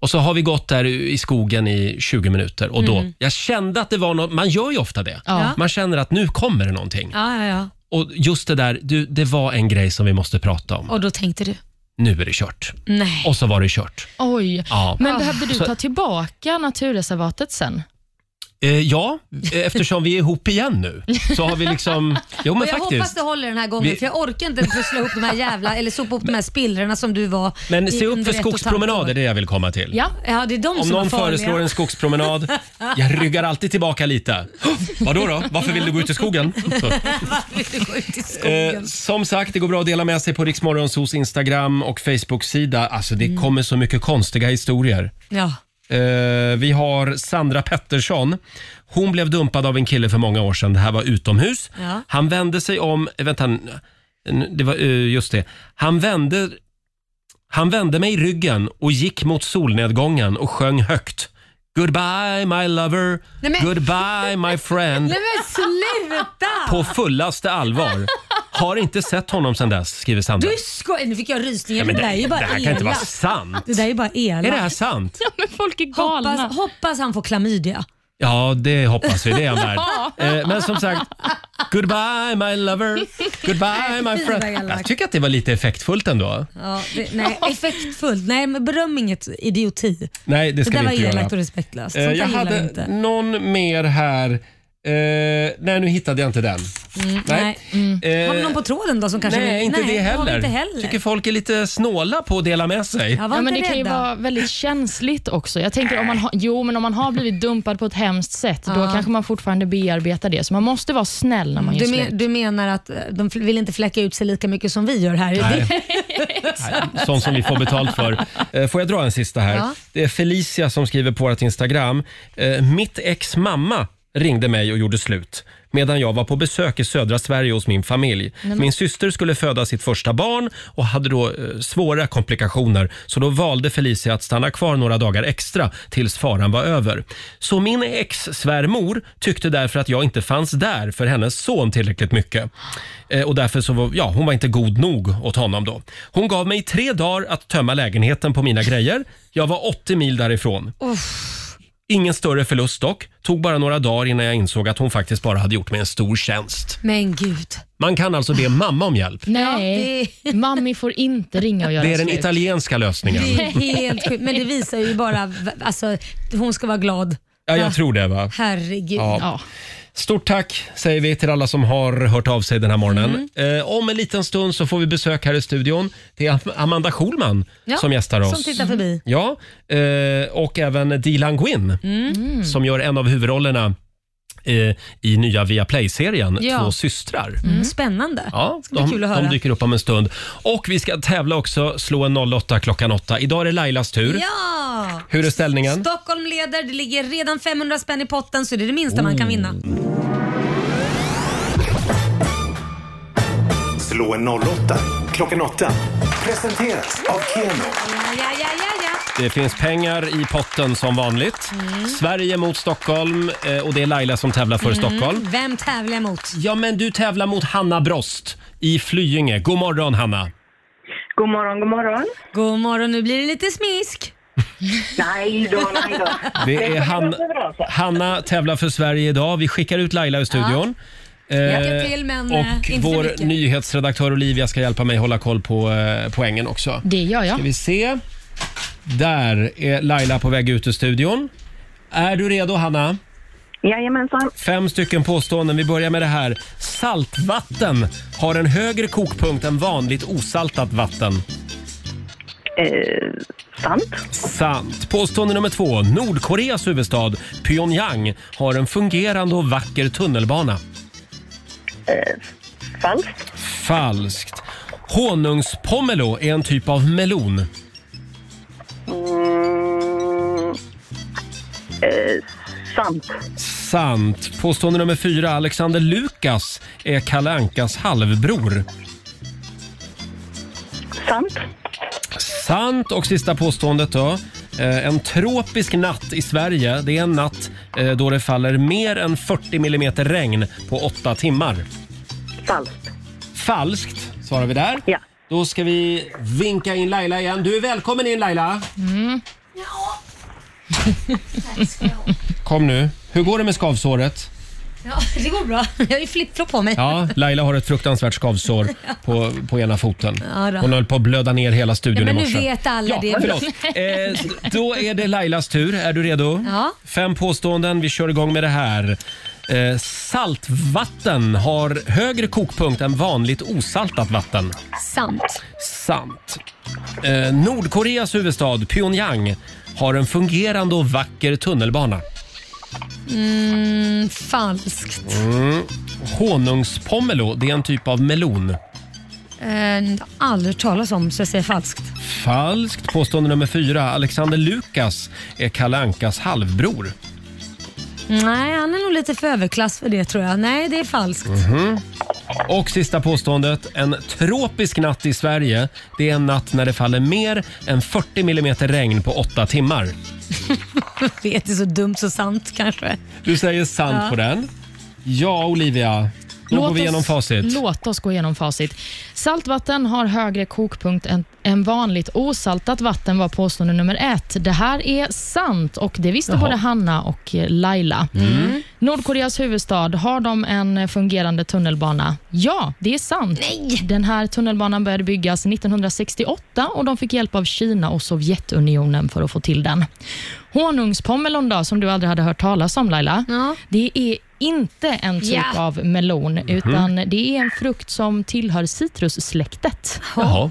A: Och så har vi gått där i skogen i 20 minuter och då,
G: Mm.
A: jag kände att det var något, man gör ju ofta det.
G: Ja.
A: Man känner att nu kommer det någonting.
C: Ja, ja, ja.
A: Och just det där, du, det var en grej som vi måste prata om.
C: Och då tänkte du?
A: Nu är det kört.
C: Nej.
A: Och så var det kört.
D: Oj.
A: Ja.
D: Men behövde du
A: Så-
D: ta tillbaka naturreservatet sen?
A: Eh, ja, eh, eftersom vi är ihop igen nu så har vi liksom... Jo men
C: och jag hoppas
A: faktiskt.
C: det håller den här gången
A: Vi-
C: för jag orkar inte pussla ihop de här jävla, eller sopa upp de här spillrorna som du var. i
A: Men se upp
C: under
A: för
C: ett och ett halvt
A: skogspromenader,
C: år.
A: det är det jag vill komma till.
C: Ja, ja det är de
A: Om
C: som
A: någon
C: är farliga.
A: föreslår en skogspromenad, jag ryggar alltid tillbaka lite. Vadå då? Varför vill du gå ut i skogen? Så. Eh, som sagt, det går bra att dela med sig på Riksmorgonsos Instagram och Facebook-sida. Alltså det kommer så mycket konstiga historier.
C: Ja.
A: Eh, vi har Sandra Pettersson. Hon blev dumpad av en kille för många år sedan. Det här var utomhus.
G: Ja.
A: Han vände sig om... eh, Vänta, n- n- det var eh, just det. Han vände, han vände mig i ryggen och gick mot solnedgången och sjöng högt. Goodbye my lover,
C: Nej, men-
A: goodbye my friend.
C: Nej men sluta!
A: På fullaste allvar. Har inte sett honom sedan dess, skriver Sandra.
C: Du skojar, nu fick jag rysningar.
A: Nej, men
C: det, där är ju bara
A: det här kan inte vara
C: elakt.
A: sant.
C: Det där är ju bara elakt.
A: Är det här sant?
D: Ja, men folk är
C: galna. Hoppas, hoppas han får klamydia.
A: Ja, det hoppas vi. Det är han värd.
C: Ja.
A: Eh, Men som sagt, goodbye my lover, goodbye my
C: Fy, vad
A: friend.
C: elakt.
A: Jag tycker att det var lite effektfullt ändå.
C: Ja, det, nej, effektfullt. Nej, men beröm inget idioti.
A: Nej, det ska
C: där
A: vi
C: var
A: inte
C: elakt
A: göra.
C: och respektlöst.
A: Eh,
C: Sånt där
A: Jag
C: gillar
A: hade
C: vi inte.
A: någon mer här. Eh, nej, nu hittade jag inte den. Eh,
C: Mm, nej. Mm. Har vi någon på tråden då som kanske
A: nej, inte det
C: har vi
A: heller.
C: Inte heller.
A: tycker folk är lite snåla på att dela med sig.
D: Ja, men det kan ju vara väldigt känsligt också. Jag tänker om man har, jo, men om man har blivit dumpad på ett hemskt sätt, då
C: Ja.
D: kanske man fortfarande bearbetar det. Så man måste vara snäll när man gör
C: Du,
D: slut.
C: men, du menar att eh, de fl- vill inte fläcka ut sig lika mycket som vi gör här?
A: Nej.
C: Nej.
A: Sånt som vi får betalt för. Eh, Får jag dra en sista här?
C: Ja.
A: Det är Felicia som skriver på vårt Instagram. Eh, Mitt ex mamma ringde mig och gjorde slut medan jag var på besök i södra Sverige hos min familj.
G: men-
A: Min syster skulle föda sitt första barn och hade då eh, svåra komplikationer så då valde Felicia att stanna kvar några dagar extra tills faran var över. Så min ex-svärmor tyckte därför att jag inte fanns där för hennes son tillräckligt mycket. Eh, Och därför så var, ja, hon var inte god nog åt honom då. Hon gav mig tre dagar att tömma lägenheten på mina grejer. Jag var 80 mil därifrån. Ingen större förlust dock. Tog bara några dagar innan jag insåg att hon faktiskt bara hade gjort mig en stor tjänst.
C: Men gud.
A: Man kan alltså be mamma om hjälp.
D: Nej, mammi får inte ringa och göra
A: Det är den
D: slut.
A: italienska lösningen.
C: Det är helt sjukt. Men det visar ju bara, v- alltså hon ska vara glad.
A: Ja,
C: Va?
A: jag tror det va.
C: Herregud.
A: Ja. Stort tack säger vi till alla som har hört av sig den här morgonen.
C: Mm.
A: Eh, om en liten stund så får vi besök här i studion. Det är Am- Amanda Schulman
C: Ja,
A: som gästar oss.
C: som tittar förbi. Mm.
A: Ja, eh, och även Dilan Gwynn som gör en av huvudrollerna eh, i nya Viaplay-serien
C: Ja.
A: Två systrar.
C: Mm. Spännande.
A: Ja,
C: Ska bli
A: de,
C: kul att höra.
A: de dyker upp om en stund. Och vi ska tävla också, slå en 08 klockan 8. Idag är det Lailas tur.
C: Ja!
A: Hur är ställningen?
C: Stockholm leder, det ligger redan 500 spänn i potten så det är det minsta
A: Oh.
C: man kan vinna.
K: Slå en 08 klockan 8. Presenteras av Keno.
C: Ja, ja, ja, ja.
A: Det finns pengar i potten som vanligt.
C: Mm.
A: Sverige mot Stockholm eh, och det är Laila som tävlar för Stockholm.
C: Vem tävlar jag mot?
A: Ja, men du tävlar mot Hanna Brost i Flyinge. God morgon Hanna!
C: God morgon, god morgon. God morgon, nu blir det lite smisk. nej då, nej då.
A: Det är Han... Hanna tävlar för Sverige idag. Vi skickar ut Laila ur studion. Eh,
C: Lycka till, men, eh,
A: och
C: inte för
A: vår
C: mycket.
A: nyhetsredaktör Olivia ska hjälpa mig hålla koll på eh, poängen också.
D: Det gör jag.
A: Ska vi se. Där är Laila på väg ut ur studion. Är du redo Hanna?
I: Jajamensan.
A: Fem stycken påståenden. Vi börjar med det här. Saltvatten har en högre kokpunkt än vanligt osaltat vatten.
I: Eh, sant.
A: Sant. Påstående nummer två. Nordkoreas huvudstad Pyongyang har en fungerande och vacker tunnelbana.
I: falskt.
A: Falskt. Honungspomelo är en typ av melon.
I: Mm, eh, sant.
A: Sant. Påstående nummer fyra. Alexander Lukas är Kalle Ankas halvbror.
I: Sant.
A: Sant. Och sista påståendet då. Eh, En tropisk natt i Sverige, det är en natt eh, då det faller mer än 40 mm regn på åtta timmar.
I: Falskt.
A: Falskt, svarar vi där. Ja. Då ska vi vinka in Laila igen. Du är välkommen in Laila. Kom nu. Hur går det med skavsåret?
C: Ja, det går bra. Jag har ju flip-flop på mig.
A: Ja, Laila har ett fruktansvärt skavsår på, på ena foten.
C: Ja då.
A: Hon höll på att blöda ner hela
C: Ja,
A: studion
C: men
A: i
C: nu
A: morse.
C: vet alla
A: ja,
C: det.
A: Förlåt. Eh, då är det Lailas tur. Är du redo?
C: Ja.
A: Fem påståenden. Vi kör igång med det här. Eh, saltvatten har högre kokpunkt än vanligt osaltat vatten.
C: Sant.
A: Sant. Eh, Nordkoreas huvudstad Pyongyang har en fungerande och vacker tunnelbana.
C: Mm, falskt.
A: Mm. Honungspomelo, det är en typ av melon.
C: Eh, jag har aldrig hört talas om så jag säger falskt.
A: Falskt. Påstående nummer fyra. Alexander Lukas är Kalle Ankas halvbror.
C: Nej, han är nog lite för överklass för det tror jag. Nej, det är falskt.
A: Mhm. Och sista påståendet. En tropisk natt i Sverige, det är en natt när det faller mer än 40 mm regn på åtta timmar.
C: Jag vet, det är så dumt så sant kanske.
A: Du säger sant
D: Ja.
A: på den. Ja, Olivia. Då går vi igenom facit.
D: Oss, låt oss gå igenom facit. Saltvatten har högre kokpunkt än, än vanligt osaltat vatten var påstående nummer ett. Det här är sant och det visste
L: Jaha.
D: både Hanna och eh, Laila.
L: Mm.
D: Nordkoreas huvudstad, har de en eh, fungerande tunnelbana? Ja, det är sant. Den här tunnelbanan började byggas 1968 och de fick hjälp av Kina och Sovjetunionen för att få till den. Honungspomelon då, som du aldrig hade hört talas om Laila. Det är inte en typ
L: Ja.
D: av melon, utan det är en frukt som tillhör citrussläktet.
A: Jaha.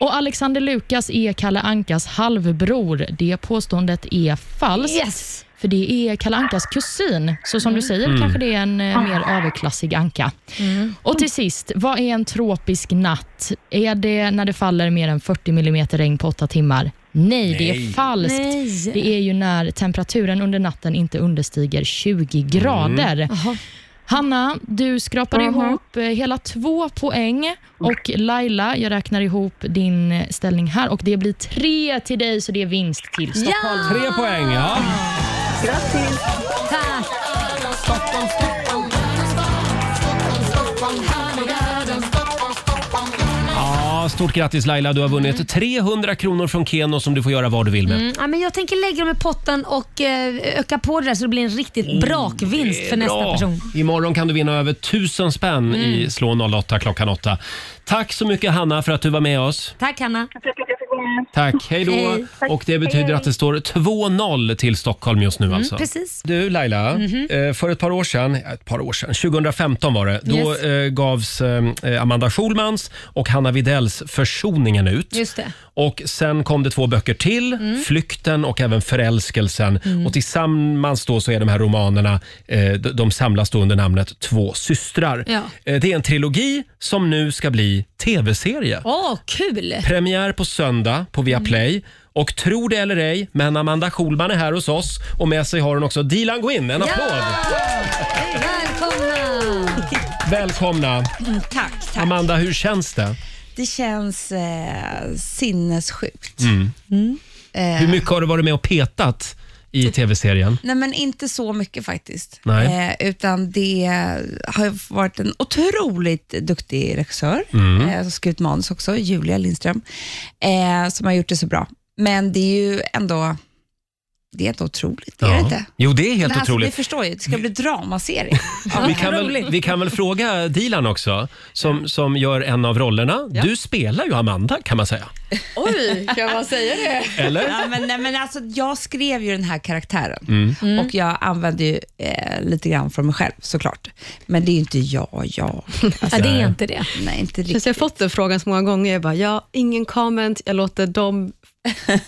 D: Och Alexander Lukas är Kalle Ankas halvbror. Det påståendet är falskt. För det är Kalle Ankas kusin, så som du säger
L: Mm.
D: kanske det är en eh, mer överklassig anka. Och till sist, vad är en tropisk natt? Är det när det faller mer än 40 mm regn på åtta timmar? Nej, det
L: Nej.
D: är falskt.
L: Nej.
D: Det är ju när temperaturen under natten inte understiger 20
L: Mm.
D: grader. Hanna, du skrapar
L: Aha.
D: ihop eh, hela två poäng och Laila, jag räknar ihop din eh, ställning här och det blir tre till dig, så det är vinst till Stockholm.
A: Tre poäng, ja.
D: Grattis!
C: Tack!
A: Ja, stort grattis Laila, du har vunnit 300 kronor från Keno som du får göra vad du vill med.
C: Mm, ja, men jag tänker lägga dem i potten och eh, öka på det där så det blir en riktigt brakvinst för nästa
A: Bra.
C: person.
A: Imorgon kan du vinna över 1000 spänn
C: Mm.
A: i Slå 08 klockan 8. Tack så mycket Hanna för att du var med oss.
C: Tack Hanna.
M: så mycket.
A: Tack, hej då.
M: Hej.
A: Och det betyder att det står 2-0 till Stockholm just nu alltså.
C: Mm, precis.
A: Du Laila,
C: Mhm.
A: eh, för ett par år sedan, ett par år sedan, 2015 var det, då
C: Yes.
A: eh, gavs eh, Amanda Schulmans och Hanna Videls Försoningen ut.
C: Just det.
A: Och sen kom det två böcker till,
C: Mm.
A: Flykten och även Förälskelsen.
C: Mm.
A: Och tillsammans då så är de här romanerna, eh, d- de samlas då under namnet Två systrar.
C: Ja.
A: Eh, det är en trilogi som nu ska bli tv-serie.
C: Åh, kul!
A: Premiär på söndag på Viaplay.
H: Mm.
A: Och tro det eller ej, men Amanda Schulman är här hos oss och med sig har hon också Dilan Gwyn. En applåd!
C: Välkomna!
A: Välkomna!
H: Mm, Tack, tack.
A: Amanda, hur känns det?
H: Det känns eh, sinnessjukt.
A: Mm.
H: Eh,
A: Hur mycket har du varit med och petat i tv-serien?
H: Nej, men inte så mycket faktiskt.
A: Nej.
H: Eh, utan det har varit en otroligt duktig regissör,
I: Mm.
H: eh, som skrivit manus också, Julia Lindström, eh, som har gjort det så bra. Men det är ju ändå, det är ändå otroligt, är det inte?
A: Jo, det är helt
H: Men alltså,
A: otroligt.
H: Ni förstår ju, det ska bli dramaserie.
A: vi, kan väl, vi kan väl fråga Dilan också, som, som gör en av rollerna.
H: Ja.
A: Du spelar ju Amanda, kan man säga.
H: Oj, kan man säga det?
A: Eller?
H: Ja, men, nej, men alltså, jag skrev ju den här karaktären
A: Mm. Mm.
H: och jag använde ju eh, lite grann från mig själv såklart. Men det är ju inte jag, jag.
N: Ja, det är inte
C: det.
H: Nej, inte
N: Känns
H: riktigt.
N: jag har fått den frågan så många gånger. Jag bara, ja, ingen comment, jag låter dem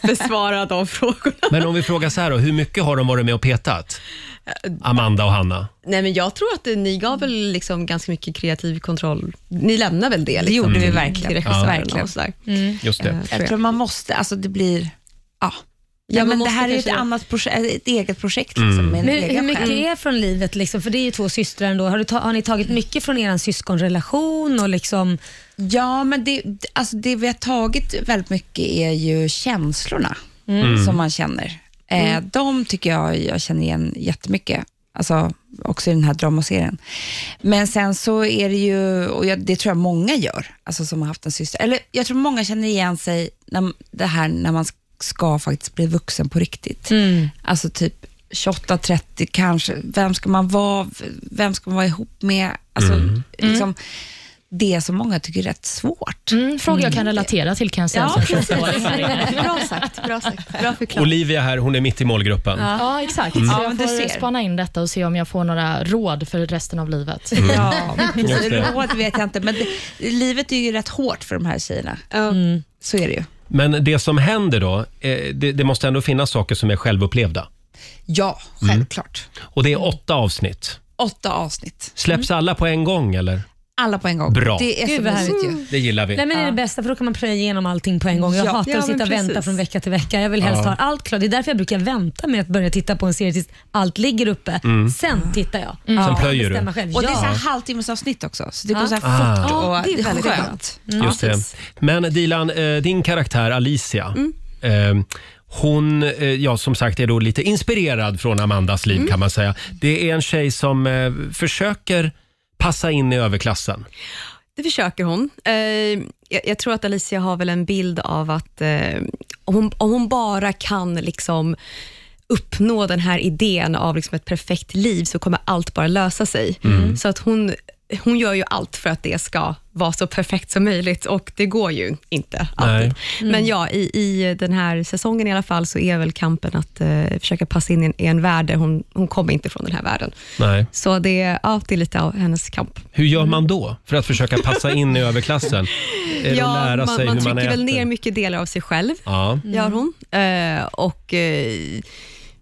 N: besvara de frågorna.
A: Men om vi frågar så här då, hur mycket har de varit med och petat? Amanda och Hanna.
N: Nej, men jag tror att det, ni gav väl liksom ganska mycket kreativ kontroll. Ni lämnar väl det? Liksom,
H: Det gjorde vi
N: till-
H: verkligen.
N: Till
A: Ja.
N: regissören
A: Verkligen.
N: och sådär.
A: Just det.
H: Jag tror man måste, alltså det blir, ja.
C: Ja,
H: ja
C: man
H: men det
C: måste
H: här är ju ett,
C: kanske- Mm.
H: annat projekt, ett eget projekt. Liksom, med en
C: Men
H: egen
C: hur mycket
H: själ.
C: är från livet? Liksom? För det är ju två systrar ändå. Har, du ta, har ni tagit mycket från er syskonrelation? Och liksom...
H: Ja, men det, alltså det vi har tagit väldigt mycket är ju känslorna
C: Mm.
H: som man känner. Eh,
D: Mm.
H: de tycker jag jag känner igen jättemycket. Alltså också i den här dramaserien. Men sen så är det ju, och jag, det tror jag många gör, alltså som har haft en syster. Eller jag tror många känner igen sig när, det här när man ska faktiskt bli vuxen på riktigt.
D: Mm.
H: Alltså typ 28, 30 kanske. Vem ska man vara? Vem ska man vara ihop med? Alltså,
D: Mm.
H: liksom, det som många tycker är rätt svårt. Mm,
D: Fråga jag kan relatera till kan jag säga.
H: Ja,
D: som
H: precis.
D: 28-åring här inne.
N: Bra sagt. Bra sagt. Bra förklarat.
A: Olivia här, hon är mitt i målgruppen.
D: Ja, exakt.
A: Mm.
D: Så
A: Ja,
D: jag
A: men du
D: får
A: ser.
D: spana in detta och se om jag får några råd för resten av livet.
A: Mm. Ja, Just
H: Precis,
A: det.
H: råd vet jag inte, men det, livet är ju rätt hårt för de här tjejerna.
A: Mm.
H: Så är det ju.
A: Men det som händer då, eh, det, det måste ändå finnas saker som är självupplevda.
H: Ja,
A: Mm.
H: självklart.
A: Och det är åtta avsnitt.
H: Åtta avsnitt.
A: Släpps alla på en gång eller?
H: Alla på en gång.
A: Bra.
H: Det är
C: Gud,
H: så
C: vad
H: mysigt ju.
C: härligt.
A: Det gillar vi.
C: Nej, men det är det bästa, för då kan man plöja igenom allting på en gång. Jag
H: Ja.
C: hatar
H: Ja,
C: att sitta
H: men
C: och vänta
H: precis.
C: från vecka till vecka. Jag vill helst
A: Ja.
C: ha allt klart. Det är därför jag brukar vänta med att börja titta på en serie tills allt ligger uppe.
A: Mm.
C: Sen tittar jag.
A: Mm. Sen
C: Jag
A: plöjer du.
C: bestämmer Själv.
H: Och det är
C: Ja.
H: så här halvtimmesavsnitt också, så det går
C: Ja.
H: så här
A: Ah.
H: fort och
C: Ja, det är
H: det är
C: väldigt
H: skönt.
N: Mm.
A: Just det. Men Dilan, eh, din karaktär Alicia.
N: Mm.
A: Eh, hon, eh, ja som sagt, är då lite inspirerad från Amandas liv
N: Mm.
A: kan man säga. Det är en tjej som eh, försöker passa in i överklassen.
N: Det försöker hon. Eh, jag, jag tror att Alicia har väl en bild av att eh, om, hon, om hon bara kan liksom uppnå den här idén av liksom ett perfekt liv så kommer allt bara lösa sig.
I: Mm.
N: Så att hon, hon gör ju allt för att det ska vara så perfekt som möjligt och det går ju inte alltid.
I: Mm.
N: Men ja, i, i den här säsongen i alla fall så är väl kampen att eh, försöka passa in i en, i en värld där hon, hon kommer inte från den här världen.
A: Nej.
N: Så det, ja, det är lite av hennes kamp.
A: Hur gör man då för att försöka passa in i överklassen? Är det att lära
N: man,
A: sig
N: man
A: hur
N: trycker
A: man äter?
N: väl ner Mm. mycket delar av sig själv,
A: Ja.
N: gör hon. Eh, och eh,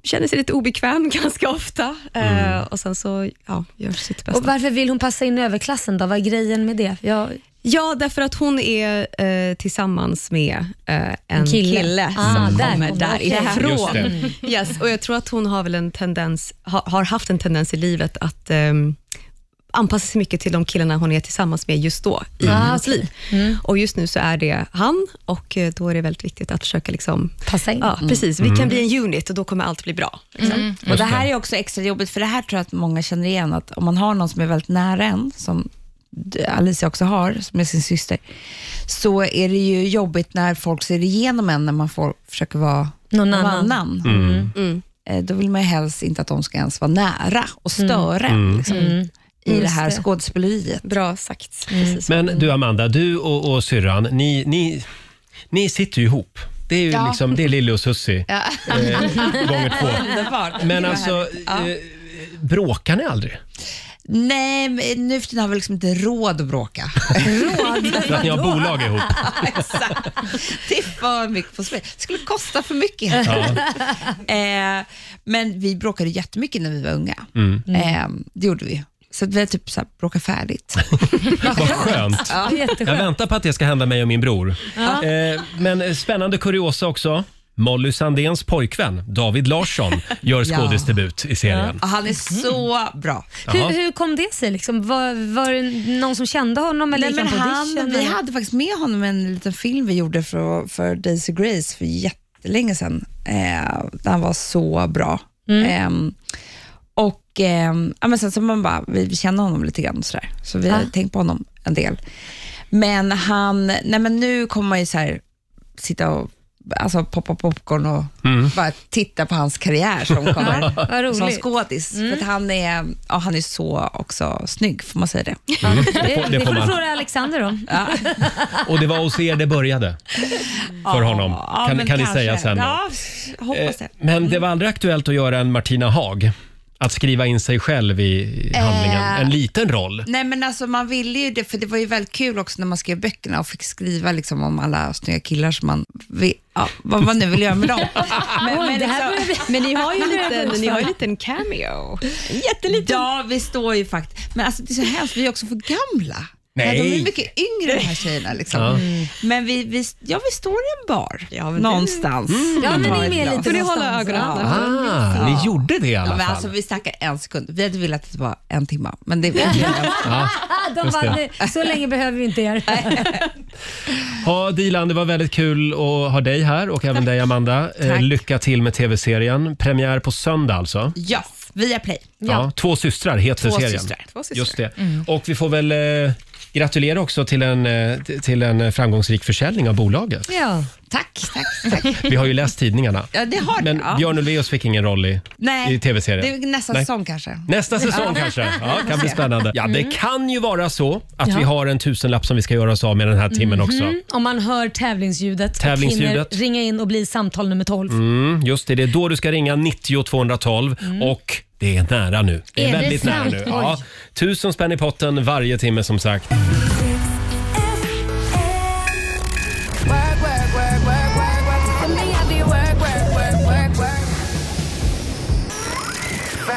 N: känner sig lite obekväm ganska ofta. Eh, Och sen så ja, gör sitt bästa.
C: Och varför vill hon passa in i överklassen då? Vad är grejen med det? Jag...
N: Ja, därför att hon är eh, tillsammans med eh, en
C: kille.
N: kille,
C: Ah,
N: som
C: där
N: kommer
C: kommer det. Just
N: därifrån.
C: det.
N: Yes, och jag tror att hon har väl en tendens, ha, har haft en tendens i livet att ehm, anpassa sig mycket till de killarna hon är tillsammans med just då i
I: Mm.
N: hennes liv.
I: Mm.
N: Och just nu så är det han och eh, då är det väldigt viktigt att försöka liksom...
C: Passa in.
N: Ja,
H: Mm.
N: precis. Vi
H: Mm.
N: kan bli en unit och då kommer allt bli bra. liksom.
H: Mm. Och det här är också extra jobbigt, för det här tror jag att många känner igen, att om man har någon som är väldigt nära en,
I: Mm.
H: som d- Alicia också har, som är sin syster, så är det ju jobbigt när folk ser igenom en, när man får, försöker vara
C: någon annan.
A: Mm.
H: Eh, Då vill man ju helst inte att de ska ens vara nära och störa en
A: Mm.
H: liksom,
A: Mm.
H: i
A: Just
H: det här
A: det.
H: skådespeleriet.
N: Bra sagt.
A: Men du Amanda, du och, och syrran, ni, ni, ni sitter ju ihop. Det är ju
H: Ja.
A: liksom, det är Lille och Susie.
H: Ja.
A: Eh, gånger två.
H: Underbart.
A: Men
H: Vad
A: alltså,
H: härligt. Ja.
A: eh, bråkar ni aldrig?
H: Nej, men nu för tiden har vi liksom inte råd att bråka. råd?
A: För att ni har bolag ihop.
H: Exakt. Det är för mycket på spel. Det skulle kosta för mycket. helt
A: Ja.
H: enkelt. eh, men vi bråkade jättemycket när vi var unga.
A: Mm.
H: Eh, det gjorde vi. Så att vi har typ så här bråkat färdigt.
A: Vad skönt.
H: Ja.
A: Jag väntar på att det ska hända mig och min bror.
H: Ja.
A: Eh, Men eh, spännande kuriosa också. Molly Sandéns pojkvän, David Larsson, gör
C: Ja.
A: skådisdebut i serien.
C: Ja, han
H: är så bra.
A: Jaha.
C: Hur, hur kom det sig? Liksom? Var, var det någon som kände honom? Eller
H: Nej,
C: gick
H: men
C: på
H: han,
C: audition,
H: vi
C: eller?
H: hade faktiskt med honom i en liten film vi gjorde för, för Daisy Grace för jättelänge sedan. Eh, där han var så bra.
O: Mm.
H: Ehm, och ehm, ja, men sen så man bara, vi vi känner honom lite grann och sådär, så vi har
O: Ah.
H: tänkt på honom en del. Men han, nej men nu kommer man ju så här, sitta och alltså, poppa popcorn och
O: Mm.
H: bara titta på hans karriär som kommer
O: Ja, vad
H: som
O: roligt. Mm.
H: skådis. För att han är, ja, han är så också snygg, får man säga det?
A: Mm, det får- det får man.
H: Alexander om. Ja.
A: Och det var hos er det började. För honom.
H: Ja,
A: Kan,
H: men
A: kan ni
H: kanske.
A: säga sen. då?
H: Ja, s- hoppas det.
A: Eh, Men det var aldrig aktuellt att göra en Martina Haag. Att skriva in sig själv i
H: Eh.
A: handlingen. En liten roll.
H: Nej men alltså man ville ju det, för det var ju väldigt kul också när man skrev böckerna och fick skriva liksom om alla snygga killar som man, vi, ja, vad man nu vill göra med dem.
P: Men, men, liksom, men ni har ju en liten, ni har ju en liten cameo.
H: Jätteliten. Ja, vi står ju faktiskt, men alltså det är så hemskt, vi är också för gamla.
O: Nej.
H: De är mycket yngre de här tjejerna. Liksom.
O: Ja.
H: Men vi, vi, ja, vi står i en bar
O: det-
H: någonstans.
O: Mm. Ja, men ni är med lite
H: Får ni hålla
O: någonstans.
H: ögonen
A: Ah, ni gjorde det i alla
H: ja, men
A: fall.
H: Alltså, vi snackar en sekund. Vi hade velat att det var en timme, men det blev
A: Ja,
C: Ah, De
A: just
C: bara,
A: det.
C: "Nu- så länge behöver vi inte er.
A: Ja, Dilan, det var väldigt kul att ha dig här och även dig Amanda. Eh,
H: Tack.
A: Lycka till med tv-serien. Premiär på söndag alltså.
H: Ja, via play.
A: Ja, två systrar heter
H: Två
A: serien.
H: systrar, två systrar. Mm.
A: Just det. Och vi får väl eh, gratulera också till en, eh, t- till en framgångsrik försäljning av bolaget.
H: Ja. Tack, tack, tack.
A: Vi har ju läst tidningarna.
H: Ja, det har
A: Men
H: det, ja.
A: Björn Ulvaeus fick ingen roll i,
H: Nej,
A: i tv-serien.
H: Det är nästa
A: Nej.
H: säsong kanske.
A: Nästa säsong
H: Ja.
A: kanske. Ja,
H: Vi får
A: kan bli
H: se.
A: spännande. Ja, det
H: Mm.
A: kan ju vara så att
C: Ja.
A: vi har en tusenlapp som vi ska göra oss av med den här timmen också.
C: Mhm. Om man hör tävlingsljudet, och
A: Tävlingsljudet.
C: hinner ringa in och bli samtal nummer 12.
A: Mm, just det, det är då du ska ringa 90 212 och det är nära nu. Det är,
C: Är det
A: väldigt nära
C: sant?
A: nu.
C: Oj.
A: Ja, tusen spänn i potten varje timme som sagt.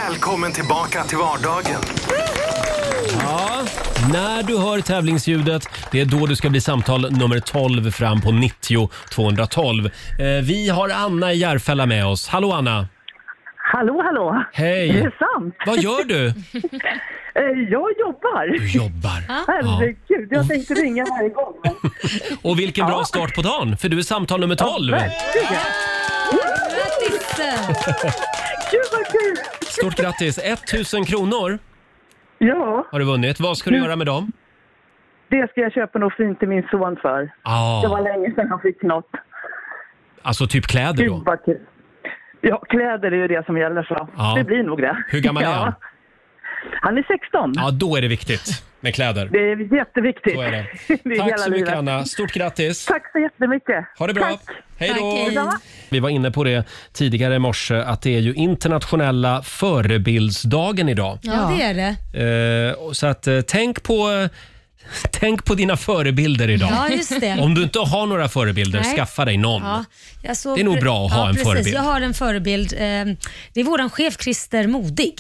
E: Välkommen tillbaka till vardagen.
A: Ja, när du hör tävlingsljudet, det är då du ska bli samtal nummer 12 fram på 90 212. Eh, vi har Anna i Järfälla med oss. Hallå Anna!
I: Hallå, hallå!
A: Hej!
I: Det är sant!
A: Vad gör du?
I: Eh, Jag jobbar. Du
A: jobbar?
H: Ah.
I: Herregud, jag tänkte ringa varje gång.
A: Och vilken bra start på dagen, för du är samtal nummer 12!
I: Verkligen!
C: Grattis!
I: Gud vad kul!
A: Stort grattis! 1000 kronor
I: Ja,
A: har du vunnit. Vad ska du göra med dem?
I: det ska jag köpa något fint till min son för.
A: Ah.
I: Det var länge sedan han fick något.
A: Alltså typ kläder då?
I: Gud vad kul. Ja, kläder är ju det som gäller så.
A: Ja.
I: Det blir nog det.
A: Hur gammal är han?
I: Han är 16.
A: Ja, då är det viktigt med kläder.
I: Det är jätteviktigt.
A: Så är det.
I: Det är
A: Tack
I: hela
A: så mycket
I: livet.
A: Anna. Stort grattis.
I: Tack så jättemycket.
A: Ha det bra.
I: Tack.
A: Hej då.
I: Tack, hej.
A: Vi var inne på det tidigare i morse att det är ju internationella förebildsdagen idag.
C: Ja, det är det.
A: Eh, och så att eh, tänk på Tänk på dina förebilder idag.
C: Ja, just det.
A: Om du inte har några förebilder,
C: Nej.
A: skaffa dig någon.
C: Ja, jag såg-
A: Det är nog bra att ha en
C: precis.
A: förebild.
C: Jag har en förebild. Eh, Det är vår chef Christer Modig.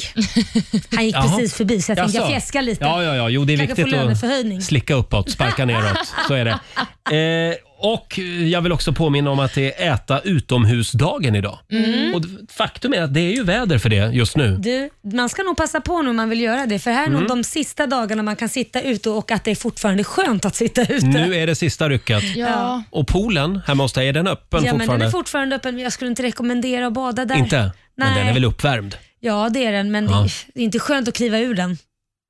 C: Han gick
A: Jaha.
C: precis förbi så jag tänkte jag
A: Jaså?
C: fjäskar lite.
A: Ja, ja, ja. Jo, det är
C: Kanske
A: viktigt
C: få
A: att
C: löneförhöjning.
A: slicka uppåt, sparka neråt. Så är det. Eh, och jag vill också påminna om att det är äta utomhusdagen idag.
C: Mm.
A: Och d- faktum är att det är ju väder för det just nu.
C: Du, man ska nog passa på nu om man vill göra det, för här är nog
A: Mm.
C: de sista dagarna man kan sitta ute och att det är fortfarande skönt att sitta ute.
A: Nu är det sista rycket.
C: Ja.
A: Och poolen hemma hos dig, är den öppen
C: ja, men den
A: fortfarande?
C: är fortfarande öppen. Jag skulle inte rekommendera att bada där.
A: Inte? Men
C: Nej.
A: den är väl uppvärmd?
C: Ja, det är den, men
A: Ja.
C: det är inte skönt att kliva ur den.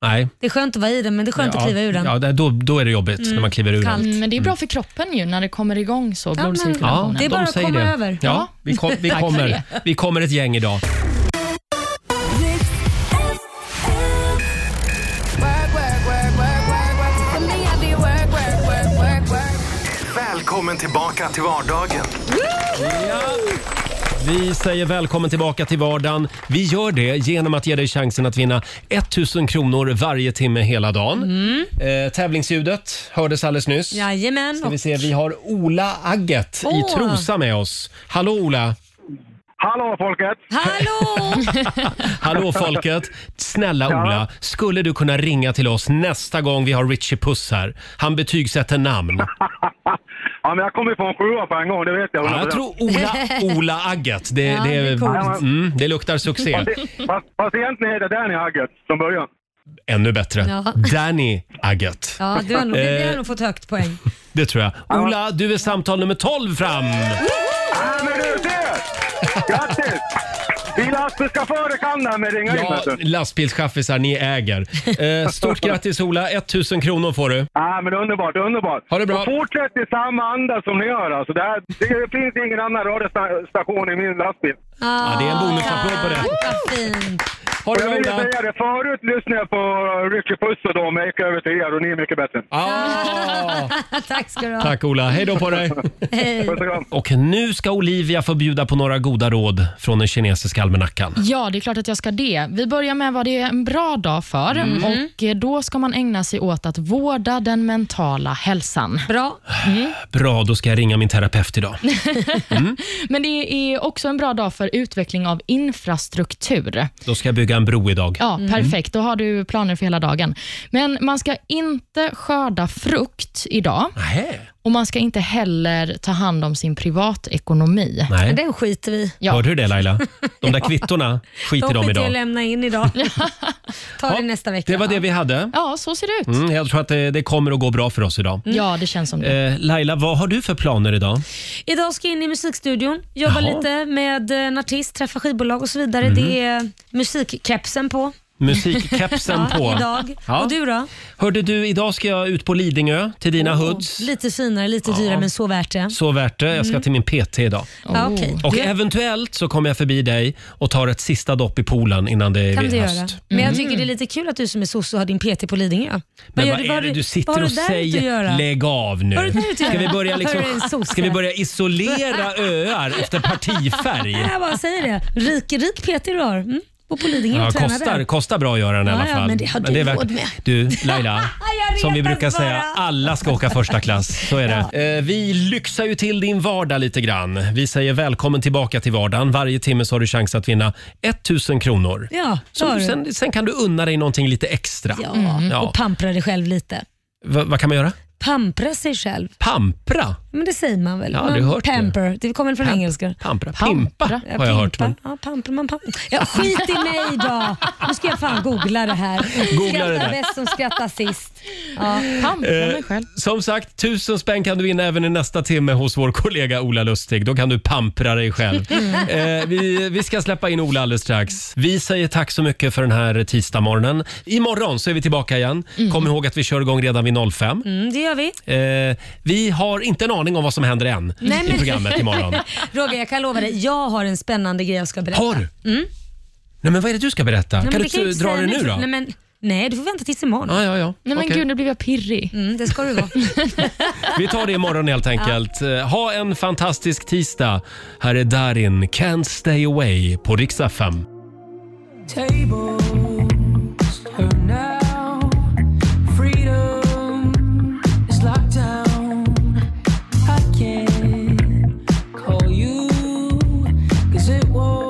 A: Nej.
C: Det är skönt att vara i den, men det är skönt
A: ja,
C: att kliva ur den.
A: Ja, där- då, då är det jobbigt när man kliver ur den.
D: Mm, Men det är bra för kroppen ju när det kommer igång så, blodcirkulationen.
A: de säger det. Ja, vi, kom, vi,
D: Tack för
A: kommer,
D: det.
A: vi kommer ett gäng idag.
E: Välkommen till
K: tillbaka till vardagen.
A: Vi säger välkommen tillbaka till vardagen. Vi gör det genom att ge dig chansen att vinna 1000 kronor varje timme hela dagen. Eh, tävlingsljudet hördes alldeles nyss.
C: Jajamän.
A: Ska vi se, vi har Ola Agget
C: Åh.
A: i Trosa med oss. Hallå Ola!
J: Hallå folket!
C: Hallå!
A: Hallå folket! Snälla Ola, skulle du kunna ringa till oss nästa gång vi har Richie Puss här? Han betygsätter namn.
J: Ja, men jag kommer ju få en sjua på en gång, det vet jag.
A: Ja, jag tror Ola, Ola Agget. Det,
J: Ja,
A: det,
J: det är coolt.
A: mm, det luktar succé.
J: Fast- Fast, fast egentligen heter Danny Hagget från början.
A: Ännu bättre.
C: Ja.
A: Danny Agget.
C: Ja, du har nog, det har
A: Eh,
C: nog fått högt poäng.
A: det tror jag. Ola, du är samtal nummer 12 fram.
J: Grattis! Vi lastbilschaufförer kan det här med ringa in.
A: Ja,
J: vet du.
A: lastbilschaffisar, ni äger. Eh, stort grattis Ola, 1000 kronor får du.
J: Ja, Ah, men underbart, underbart.
A: Ha det bra.
J: Och fortsätt i samma anda som ni gör. Alltså, det, här, det finns ingen annan radiostation i min lastbil.
A: Ja, det är en bonusapplåd på det.
C: Vad fint.
A: Har
J: jag vill ju säga det, förut lyssnade jag på Richie Puss och dem, men jag gick över till er och ni är mycket bättre.
A: Ah.
C: Tack ska du ha.
A: Tack Ola, hej då på dig.
C: Hej.
A: Och nu ska Olivia få bjuda på några goda råd från den kinesiska almanackan.
D: Ja, det är klart att jag ska det. Vi börjar med vad det är en bra dag för.
A: Mm.
D: Och eh, Då ska man ägna sig åt att vårda den mentala hälsan.
C: Bra.
D: Mm.
A: Bra, då ska jag ringa min terapeut idag.
D: Men det är också en bra dag för utveckling av infrastruktur.
A: Då ska jag bygga en bro idag.
D: Ja,
A: Mm.
D: Perfekt, då har du planer för hela dagen. Men man ska inte skörda frukt idag. Och man ska inte heller ta hand om sin privatekonomi.
A: Nej. Men
C: den skiter vi
D: ja.
A: Hörde du det Laila? De där kvittona, skit i
C: De
A: dem
C: skiter jag att
A: idag.
C: lämna in idag. Ta det nästa vecka.
A: Det var det vi hade.
D: Ja, så ser det ut.
A: Mm, jag tror att det, det kommer att gå bra för oss idag.
D: Ja, det känns som det.
A: Eh, Laila, vad har du för planer idag?
C: Idag ska jag in i musikstudion, jobba
A: Jaha.
C: lite med eh, en artist, träffa skivbolag och så vidare.
A: Mhm.
C: Det är musikkepsen på.
A: Musikkepsen
C: ja,
A: på.
C: Idag.
A: Ja.
C: Och du då?
A: Hörde du, idag ska jag ut på Lidingö till dina hoods.
C: Lite finare, lite
A: Ja.
C: dyrare men så värt det.
A: Så värt det. Jag ska
C: Mm.
A: till min PT idag.
C: Ja, okej.
A: Och
C: Du-
A: eventuellt så kommer jag förbi dig och tar ett sista dopp i poolen innan det är
C: kan
A: höst. Mm.
C: du göra. Men jag tycker det är lite kul att du som är sosse har din PT på Lidingö. Vad
A: Men
C: gör
A: vad är det du
C: vad har
A: sitter och
C: du där ute att göra?
A: säger? Lägg av
C: Vad har
A: nu.
C: du där ute att
A: Ska vi
C: göra?
A: börja, liksom,
C: Hör du, en sosse?
A: ska vi börja isolera öar efter partifärg?
C: Nej, jag bara säger det. Rik, rik PT du har. Mm. Och på Lidingö
A: Ja,
C: och tränar
A: kostar,
C: där.
A: kostar bra att göra den i
C: Ja,
A: alla
C: ja,
A: fall.
C: men det har du
A: är värt-
C: råd med.
A: Du, Laila.
C: Jag
A: Som vi
C: retas
A: brukar säga,
C: bara.
A: alla ska åka första klass. Så är det. Eh, Vi lyxar ju till din vardag lite grann. Vi säger välkommen tillbaka till vardagen. Varje timme så har du chans att vinna 1000 kronor.
C: Ja,
A: Så
C: hör
A: du,
C: du.
A: sen, sen kan du unna dig någonting lite extra.
C: Ja, Mm.
A: Ja.
C: och pampra dig själv lite.
A: Va, vad kan man göra?
C: Pampra sig själv.
A: Pampra?
C: Men det säger man väl?
A: Jag har aldrig
C: man,
A: hört det.
C: pamper. Det, kommer väl från engelska?
A: Pampra? Pimpa
C: Ja,
A: har jag hört. Men
C: Ja, pamper, man pamper. Ja, skit i mig då. Nu ska jag fan googla det här.
A: Googla
C: Skrattar
A: det där.
C: bäst som skrattar sist. Ja. Pampra
A: Eh, Som sagt, tusen spänn kan du vinna även i nästa timme hos vår kollega Ola Lustig. Då kan du pampra dig själv.
C: Mm.
A: eh, vi, vi ska släppa in Ola alldeles strax. Vi säger tack så mycket för den här tisdagsmorgonen. Imorgon så är vi tillbaka igen. Kom ihåg att vi kör igång redan vid 05.
C: Mm, det gör vi.
A: Eh, vi har inte en aning om vad som händer än i programmet imorgon.
C: Roger, jag kan lova dig. Jag har en spännande grej jag ska berätta.
A: Har du?
C: Mm.
A: Nej, men vad är det du ska berätta?
C: Nej, men
A: kan du
C: det jag
A: inte
C: inte
A: dra
C: säga
A: det nu då?
C: Nej, men, nej, du får vänta tills imorgon.
A: Ah, Ja, ja, ja. Nej, men Okej. gud,
D: nu blev jag pirrig.
C: Mm, det ska du vara.
A: Vi tar det imorgon helt enkelt. Eh, Ha en fantastisk tisdag. Här är Darin, Can't Stay Away på Rix FM.
G: Tables are now. Freedom is locked down. I can't call you 'cause it won't.